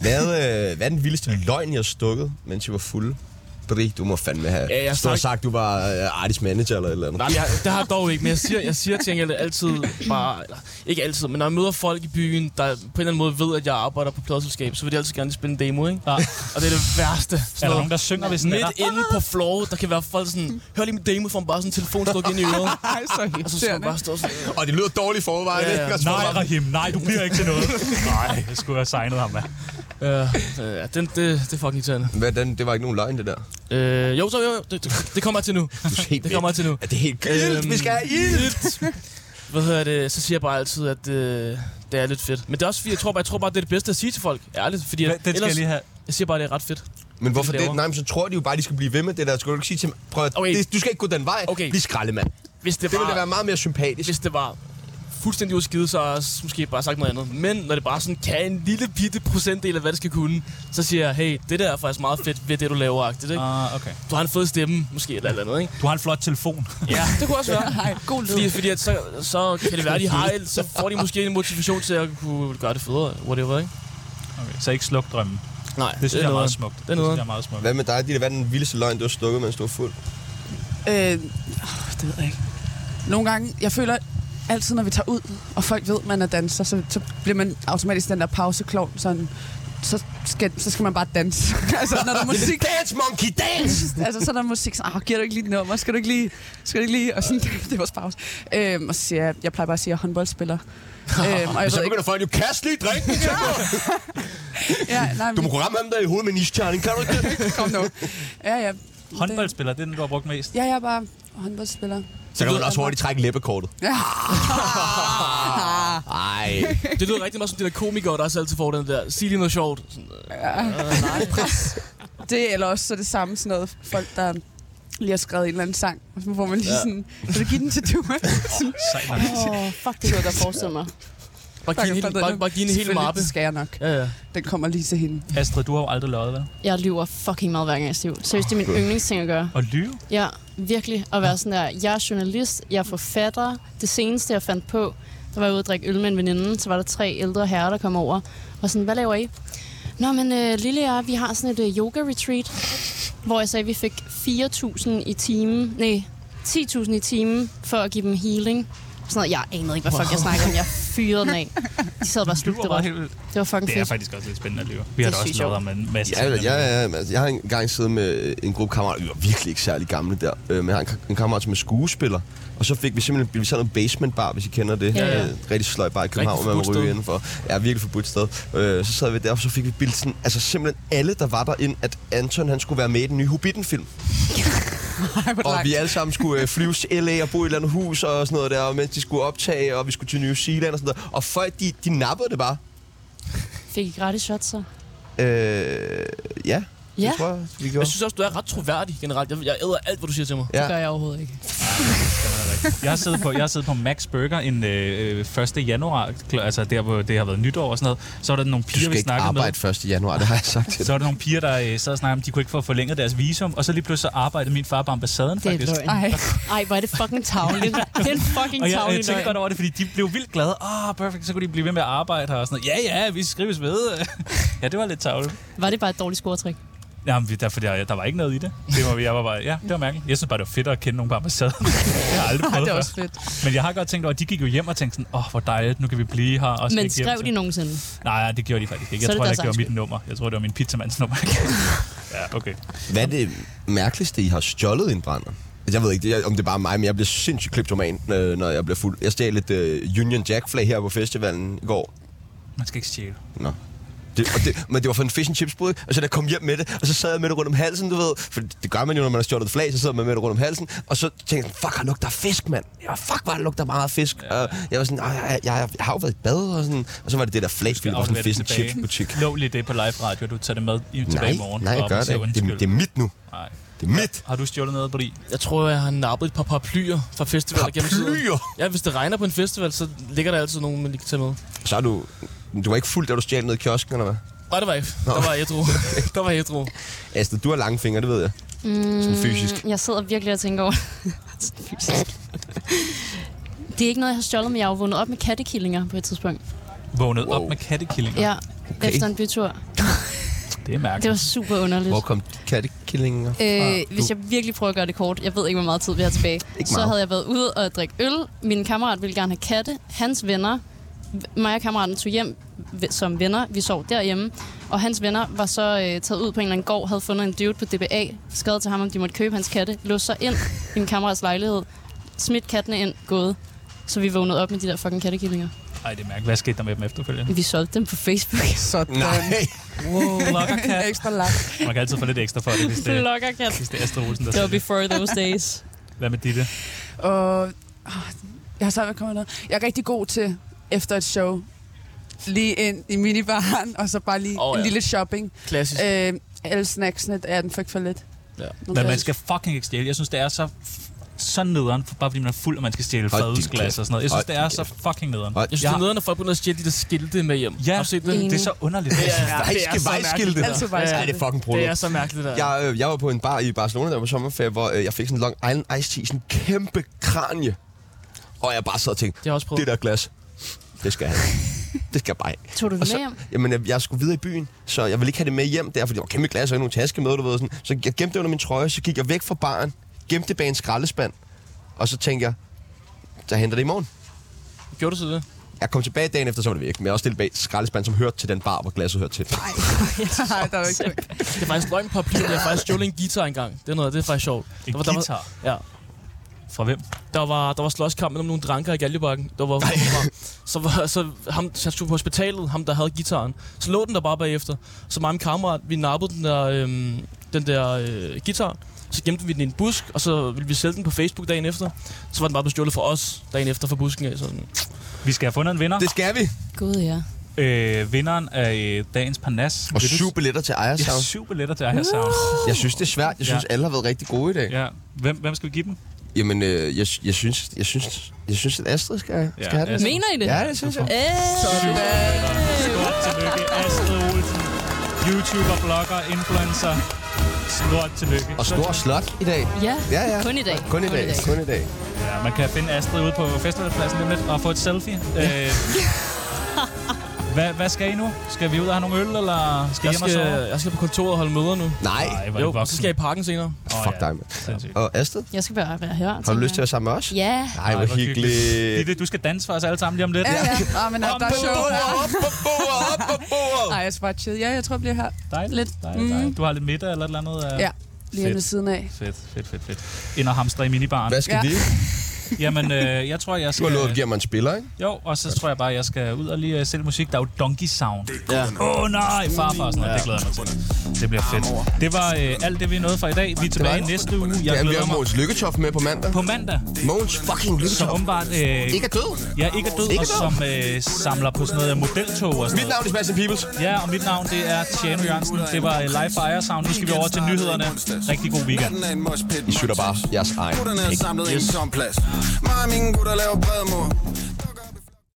A: Hvad, øh, hvad er den vildeste løgn, jeg har stukket, mens jeg var fuld? Bri, du må fandme have
F: Ja,
A: ja,
F: jeg
A: stået og
F: stak-
A: sagt, du var øh, artist manager eller et eller andet.
F: Nej, men jeg, det har jeg dog ikke, men jeg siger, jeg siger til gengæld altid bare... Eller, ikke altid, men når jeg møder folk i byen, der på en eller anden måde ved, at jeg arbejder på pladselskab, så vil de altid gerne lige spille en demo, ikke?
B: Ja.
F: Og det er det værste. Sådan
B: Er der
F: noget.
B: nogen, der synger, hvis den er
F: Midt
B: der?
F: inde på floor, der kan være folk sådan, hør lige min demo, får man bare sådan en telefonstok ind i øret.
C: Ej, så
F: Ah, Og så skal man
C: irriterende.
F: bare stå sådan,
A: Og det lyder dårligt i forvejen,
F: Ja,
A: ikke?
F: ja.
A: Og så
B: Nej,
A: var der-
B: Rahim, nej, du bliver ikke til noget. Nej, jeg skulle have signet ham, mand.
F: øh, øh, ja, den, det, det er fucking irriterende.
A: Hvad, den, det var ikke nogen løgn, det der.
F: Øh, jo, så jo, jo, det, det, det kommer jeg til nu.
A: Du er helt
F: Det kommer jeg til nu. Øh,
A: Er det helt grildt? vi skal have ild!
F: Hvad hedder det? Så siger jeg bare altid, at øh, det er lidt fedt. Men det er også fordi, jeg tror bare, jeg tror bare det er det bedste at sige til folk. Ærligt, fordi
B: Den
F: at,
B: skal jeg lige have.
F: jeg siger bare, at det er ret fedt.
A: Men hvorfor
F: Det
A: det?
F: laver.
A: Nej, men så tror de jo bare, de skal blive ved med det der. Skal du ikke sige til dem, prøv at,
F: Okay.
A: det, du skal ikke gå den vej.
F: Okay.
A: Bliv skraldemand.
F: Hvis det,
A: Det ville
F: bare,
A: da være meget mere sympatisk.
F: hvis det var fuldstændig udskidt, så har jeg s- måske bare sagt noget andet. Men når det bare sådan kan en lille bitte procentdel af, hvad det skal kunne, så siger jeg, hey, det der er faktisk meget fedt ved det, du laver, agtigt, ikke?
B: Ah, okay.
F: Du har en fed stemme, måske, eller et eller andet, ikke?
B: Du har en flot telefon.
F: Ja, det kunne også være.
C: Ej, god lyd.
F: Fordi, fordi at så, så kan det være, at de har, et- så får de måske en motivation til at kunne gøre det federe, whatever, ikke?
B: Okay, så ikke sluk drømmen.
F: Nej,
B: Det synes jeg er
F: noget.
B: meget smukt.
F: Det er noget.
B: synes jeg er meget smukt.
A: Hvad med dig, Ditte? Hvad er den vildeste løgn, du har stukket, mens du var fuld?
C: Øh, åh, det ved jeg ikke. Nogle gange, jeg føler altid, når vi tager ud, og folk ved, man er danser, så, så bliver man automatisk den der pauseklon, sådan, så skal, så skal man bare danse. altså, når der er musik,
A: Dance, monkey, dance!
C: altså, så er der musik, sådan, ah, giver du ikke lige et nummer, skal du ikke lige, skal du ikke lige, og sådan, det er vores pause. Øhm, og så siger jeg, jeg plejer bare at sige, at jeg er håndboldspiller. øhm, og jeg
A: Hvis
C: ved
A: jeg
C: ikke,
A: begynder at få en, jo kast lige drinken til mig.
C: ja, nej,
A: Du
C: men,
A: må kunne ramme ham der i hovedet med en isterning, kan du ikke det?
C: kom nu. Ja, ja. Det,
B: Håndboldspiller, det er den, du har brugt mest.
C: ja, jeg er bare håndboldspiller.
A: Så kan man også hurtigt trække læbekortet.
C: Ja.
A: Ej.
F: Det lyder rigtig meget som de der komikere, der også altid får den der, sig lige noget sjovt. Sådan, øh,
C: Det eller også så er det samme sådan noget, folk der lige har skrevet en eller anden sang, og så får man lige sådan, vil du give den til du? Sådan,
B: Sejt nok.
E: Åh, oh, fuck, det kunne jeg godt forestille mig.
F: Bare
C: "Fuck,
F: give en hel,
C: jeg fandt
F: bare,
C: den.
F: bare give en hel
C: Selvfølgelig,
F: mappe.
C: Det skal jeg nok.
F: Ja, ja.
C: Den kommer lige til hende.
B: Astrid, du har jo aldrig løjet, vel?
E: Jeg lyver fucking meget, hver gang jeg er stiv. Seriøst, det er min yndlingsting at gøre.
B: Og lyve?
E: Ja, virkelig. At være sådan der, jeg er journalist, jeg er forfatter. Det seneste, jeg fandt på, der var jeg ude at drikke øl med en veninde. Så var der tre ældre herrer, der kom over. Og sådan, hvad laver I? Nå, men øh, Lille og jeg, vi har sådan et øh, yoga-retreat, hvor jeg sagde, at vi fik 4.000 i timen. Nej, 10.000 i timen for at give dem healing. Sådan noget. Jeg anede ikke, hvad fuck jeg snakkede om. Jeg fyrede den af. De sad bare og slugte det
B: bare
E: råt.
B: helt vildt.
E: Det var fucking
B: Det er
E: fedt.
B: faktisk også lidt spændende at lyve. Vi har
E: Det
B: da også
E: synes jeg
B: løjet
E: jo.
B: om en masse
A: Ja,
B: ting.
A: ja, ja, ja. Altså, jeg har engang siddet med øh, en gruppe kammerater, vi var virkelig ikke særlig gamle der, øh, men jeg har en, en kammerat, som er skuespiller, og så fik vi simpelthen, vi sad i en basement bar, hvis I kender det,
E: Ja, ja.
A: Øh, rigtig sløj bar i København, man
F: Rigtig
A: må
F: forbudt
A: ryge
F: sted.
A: indenfor. Ja, virkelig forbudt sted. Øh, så sad vi der, og så fik vi bildt sådan, altså simpelthen alle, der var derinde, at Anton, han skulle være med i den nye Hobbiten-film.
C: Ej, hvor
A: Og
C: langt.
A: vi alle sammen skulle øh, flyve til LA og bo i et eller andet hus og sådan noget der, og mens de skulle optage, og vi skulle til New Zealand og sådan noget. Og folk, de, de nappede det bare.
E: Fik I gratis shots, så?
A: Øh, ja,
E: Ja,
A: det tror jeg, vi
F: Jeg
A: gjorde.
F: synes også, du er ret troværdig generelt. Jeg, jeg æder alt, hvad du siger til mig.
E: det gør jeg overhovedet ikke.
B: Jeg har siddet på, jeg har siddet på Max Burger en øh, øh, 1. januar, kl- altså der, hvor det har været nytår og sådan noget. Så var der nogle
A: Du
B: piger,
A: skal
B: vi
A: ikke
B: snakkede med.
A: arbejde 1. januar, det har jeg sagt til dig.
B: Så var der nogle piger, der øh, sad og snakkede om, de kunne ikke få forlænget deres visum. Og så lige pludselig så arbejdede min far på ambassaden,
E: Det er
B: faktisk.
E: løgn.
C: Ej,
E: Ej, hvor er det fucking tavligt. Det er en fucking
B: Og jeg, jeg
E: tavlig
B: tænkte godt
E: løgn.
B: over det, fordi de blev vildt glade. Ah, oh, perfekt, så kunne de blive ved med at arbejde her og sådan noget. Ja, ja, vi skrives ved. ja, det var lidt tavligt.
E: Var det bare et dårligt scoretrik?
B: Jamen, vi- der, for der, der var ikke noget i det. det var, jeg var bare, ja, det var mærkeligt. Jeg synes bare, det var fedt at kende nogen på ambassaden. jeg har aldrig
C: ej,
B: prøvet
C: det er
B: før.
C: også fedt.
B: Men jeg har godt tænkt over, at de gik jo hjem og tænkte sådan, åh, oh, hvor dejligt, nu kan vi blive her. Og så
E: Men
B: gik hjem
E: skrev
B: til-
E: de nogensinde?
B: Nej, nej, det gjorde de faktisk ikke.
E: Så
B: Jeg
E: er det
B: tror heller
E: deres
B: ikke, det var
E: egen
B: mit nummer. Jeg tror, det var min pizzamands nummer. ja, okay.
A: Hvad er det mærkeligste, I har stjålet i en brænder? Jeg ved ikke, det er- om det er bare mig, men jeg bliver sindssygt kleptoman, øh, når jeg bliver fuld. Jeg stjal et øh, Union Jack-flag her på festivalen i går.
B: Man skal ikke stjæle.
A: Nå. Det, og det, men det var for en fish and chips brud, og så da jeg kom hjem med det, og så sad jeg med det rundt om halsen, du ved. For det gør man jo, når man har stjålet et flag, så sidder man med det rundt om halsen. Og så tænkte jeg, fuck, han lugter af fisk, mand. Ja, fuck, hvor han lugter meget af fisk. Ja. Og jeg var sådan, "Ej, jeg, jeg, jeg, har jo været i bad, og, sådan, og så var det det der flag, fordi det var sådan en fish and chips butik.
B: Lå lige det på live radio, du tager det med i, tilbage
A: Nej,
B: i morgen.
A: nej, jeg
B: og
A: gør det
B: siger
A: ikke. Det,
B: undskyld.
A: det, er mit nu.
B: Nej.
A: Det er mit.
B: Har du stjålet noget på det?
F: Jeg tror, jeg har nappet et par paraplyer fra festivaler gennem tiden.
A: Paraplyer?
F: Ja, hvis det regner på en festival, så ligger der altid nogen, man lige kan tage med.
A: Så er du... Du var ikke fuld, da du stjal ned i kiosken, eller hvad?
F: Nej, det var jeg ikke. Der var jeg ædru. der var jeg ædru.
A: Altså, du har lange fingre, det ved jeg. Mm. Sådan fysisk.
E: Jeg sidder virkelig og tænker over... det er ikke noget, jeg har stjålet, men jeg har jo vundet op med kattekillinger på et tidspunkt.
B: Vågnet wow.
A: Wow.
B: op med kattekillinger.
E: Ja, okay. efter en bytur.
B: Det er mærkeligt.
E: Det var super underligt.
A: Hvor kom kattekillinger fra?
E: Øh,
A: Ah, Du-
E: hvis jeg virkelig prøver at gøre det kort, jeg ved ikke, hvor meget tid vi har tilbage,
A: Ikke
E: så
A: meget.
E: havde jeg været ude og drikke øl. Min kammerat ville gerne have katte. Hans venner, mig og kammeraten tog hjem v- som venner. Vi sov derhjemme. Og hans venner var så øh, taget ud på en eller anden gård, havde fundet en dude på DBA, skrevet til ham, om de måtte købe hans katte, låste sig ind i min kammerats lejlighed, smidt kattene ind, gået. Så vi vågnede op med de der fucking kattekillinger.
B: Ej, det er mærkeligt. Hvad skete der med dem efterfølgende?
E: Vi solgte dem på Facebook.
C: Sådan.
A: Nej.
B: Wow, lockerkat.
C: Ekstra lagt.
B: Man kan altid få lidt ekstra for det, hvis det,
E: Flokker kat.
B: hvis det er Astrid Olsen, der
E: Det var
B: siger det.
E: before those days.
B: Hvad med Ditte?
C: Og ah, jeg har svært ved at komme med noget. Jeg er rigtig god til, efter et show, lige ind i minibaren, og så bare lige
F: Åh,
C: oh, ja.
F: ja.
C: en lille shopping.
F: Klassisk.
C: Øh, alle snacksene er den fik for lidt.
F: Ja.
B: Men man skal fucking ikke stjæle. Jeg synes, det er så så nederen, for- bare fordi man er fuld, og man skal stjæle
A: Hold din
B: fadelsglas
A: kæft.
B: og sådan noget. Jeg synes,
A: Hold
B: det er
A: din
B: så fucking nederen.
A: Hold-
F: Jeg synes,
B: Jeg
F: ja. det
B: har-
F: er nederen, at folk begynder at stjæle de der skilte med hjem.
B: Ja,
F: Har du set det?
E: Enig.
B: det er så underligt.
F: Ja,
A: Vejske,
F: det er så
A: vejskilte.
F: mærkeligt.
C: Altid vejskilte.
F: Ja,
A: Nej, Altså det er fucking brugt.
F: Det er så mærkeligt, det der.
A: Jeg, øh, jeg var på en bar i Barcelona, der var sommerferie, hvor øh, jeg fik sådan en Long Island Ice Tea, sådan en kæmpe kranje. Og jeg bare sad og tænkte,
F: Det har jeg også prøvet.
A: det der glas, det skal jeg have. det skal jeg bare have.
E: Tog du
A: Og
E: det med
A: så,
E: hjem?
A: jamen, jeg, jeg skulle videre i byen, så jeg ville ikke have det med hjem der, fordi det var kæmpe glas, og jeg havde nogle taske med, du ved. Sådan. Så jeg gemte det under min trøje, så gik jeg væk fra baren, gemte det bag en skraldespand, og så tænkte jeg, så henter det i morgen.
F: Gjorde du så det?
A: Jeg kom tilbage dagen efter, så var det væk, men jeg også stillet bag skraldespand, som hørte til den bar, hvor glasset hørte til.
C: Nej, der er jo ikke
F: Det er faktisk løgn på papir, men jeg har faktisk stjålet en guitar engang. Det er noget, det er faktisk sjovt.
B: En
F: der var,
B: guitar?
F: Der var, ja.
B: Fra hvem?
F: Der var, der var slåskamp mellem nogle dranker i Galjebakken. Der var, var, så var så ham, så han skulle på hospitalet, ham der havde gitaren. Så lå den der bare bagefter. Så mig og min kammerat, vi nappede den der, øhm, den der øh, guitar. Så gemte vi den i en busk, og så ville vi sælge den på Facebook dagen efter. Så var den bare bestjålet for os dagen efter fra busken af. Sådan.
B: Vi skal have fundet en vinder.
A: Det skal vi.
E: Gud ja.
B: Øh, vinderen af øh, dagens Parnas.
A: Og syv billetter til
B: Jeg har
A: Ejersound.
B: syv billetter til Aya Sound.
A: Jeg synes, det er svært. Jeg synes,
B: Ja.
A: ja. alle har været rigtig gode i dag. Ja.
B: Ja. Hvem, hvem skal vi give dem?
A: Jamen, øh, jeg, jeg, synes, jeg, synes, jeg synes, at Astrid skal, ja, skal have det.
B: Astrid.
E: Mener I det?
A: Ja, det synes jeg.
E: Øh,
B: Stort tillykke, Astrid Olsen. YouTuber, blogger, influencer. Stort tillykke.
A: Og stor slot i dag.
E: ja.
A: Ja, ja.
E: Kun i dag.
A: Kun i dag. Kun i dag.
B: Ja, man kan finde Astrid ude på festivalpladsen lidt og få et selfie. Øh, hvad, hvad skal I nu? Skal vi ud og have nogle øl, eller skal I
F: Jeg
B: hjem og
F: skal,
B: sove?
F: jeg skal på kontoret og holde møder nu.
A: Nej.
B: Ej, hvor er I
F: Jo, så
B: voksen.
F: skal jeg i parken senere.
B: Åh,
A: Fuck
B: ja.
A: dig, mand.
B: Sindssygt.
A: Og Astrid,
E: Jeg skal bare være her.
A: har du lyst til at være sammen med os?
E: Ja.
A: Nej, hvor hyggeligt.
B: Ditte, du skal danse for os alle sammen lige om lidt.
C: Ja, ja. Ah, men der, der er show.
A: Op på bordet, op på bordet.
C: Nej, jeg skal bare chill. Ja, jeg tror, jeg bliver her
B: Dejligt.
C: Lidt. Mm.
B: Dejligt, dejligt. Du har lidt middag eller et eller andet? øh?
C: Ja. lige
B: Fedt.
C: ved siden af.
B: Fedt, fedt, fedt, fedt. Ind og hamstre i minibaren.
A: Hvad skal
C: Ja.
A: vi?
B: Jamen, øh, jeg tror, jeg
A: Du har
B: skal...
A: lovet, at vi giver mig en spiller, ikke?
B: Jo, og så tror jeg bare, jeg skal ud og lige øh, sætte musik. Der er jo Donkey Sound. Åh ja. oh, nej, farfar og sådan noget. Det glæder jeg mig til. Det bliver fedt. Det var øh, alt det, vi nåede for i dag. Vi er tilbage
A: var-
B: næste uge.
A: Ja,
B: Jeg
A: vi har
B: glæder mig
A: Måns Lykketoft med på mandag.
B: på mandag,
A: Måns fucking
B: som
A: Lykketoft.
B: åbenbart øh,
A: Ikke er død.
B: jeg ikke er død,
A: Ikke
B: og
A: død.
B: som øh, samler på sådan noget modeltog og sådan
A: Mit
B: noget.
A: navn er Sebastian Peebles.
B: Ja, og mit navn det er Tjano Jørgensen. Det var øh, live fra Ejer Sound. Nu skal vi over til nyhederne. Rigtig god weekend.
H: Natten er en moshpit.
A: I sytter bare jeres egen.
H: Gutterne er samlet i en tom plads. Mange af mine gutter laver bredmor.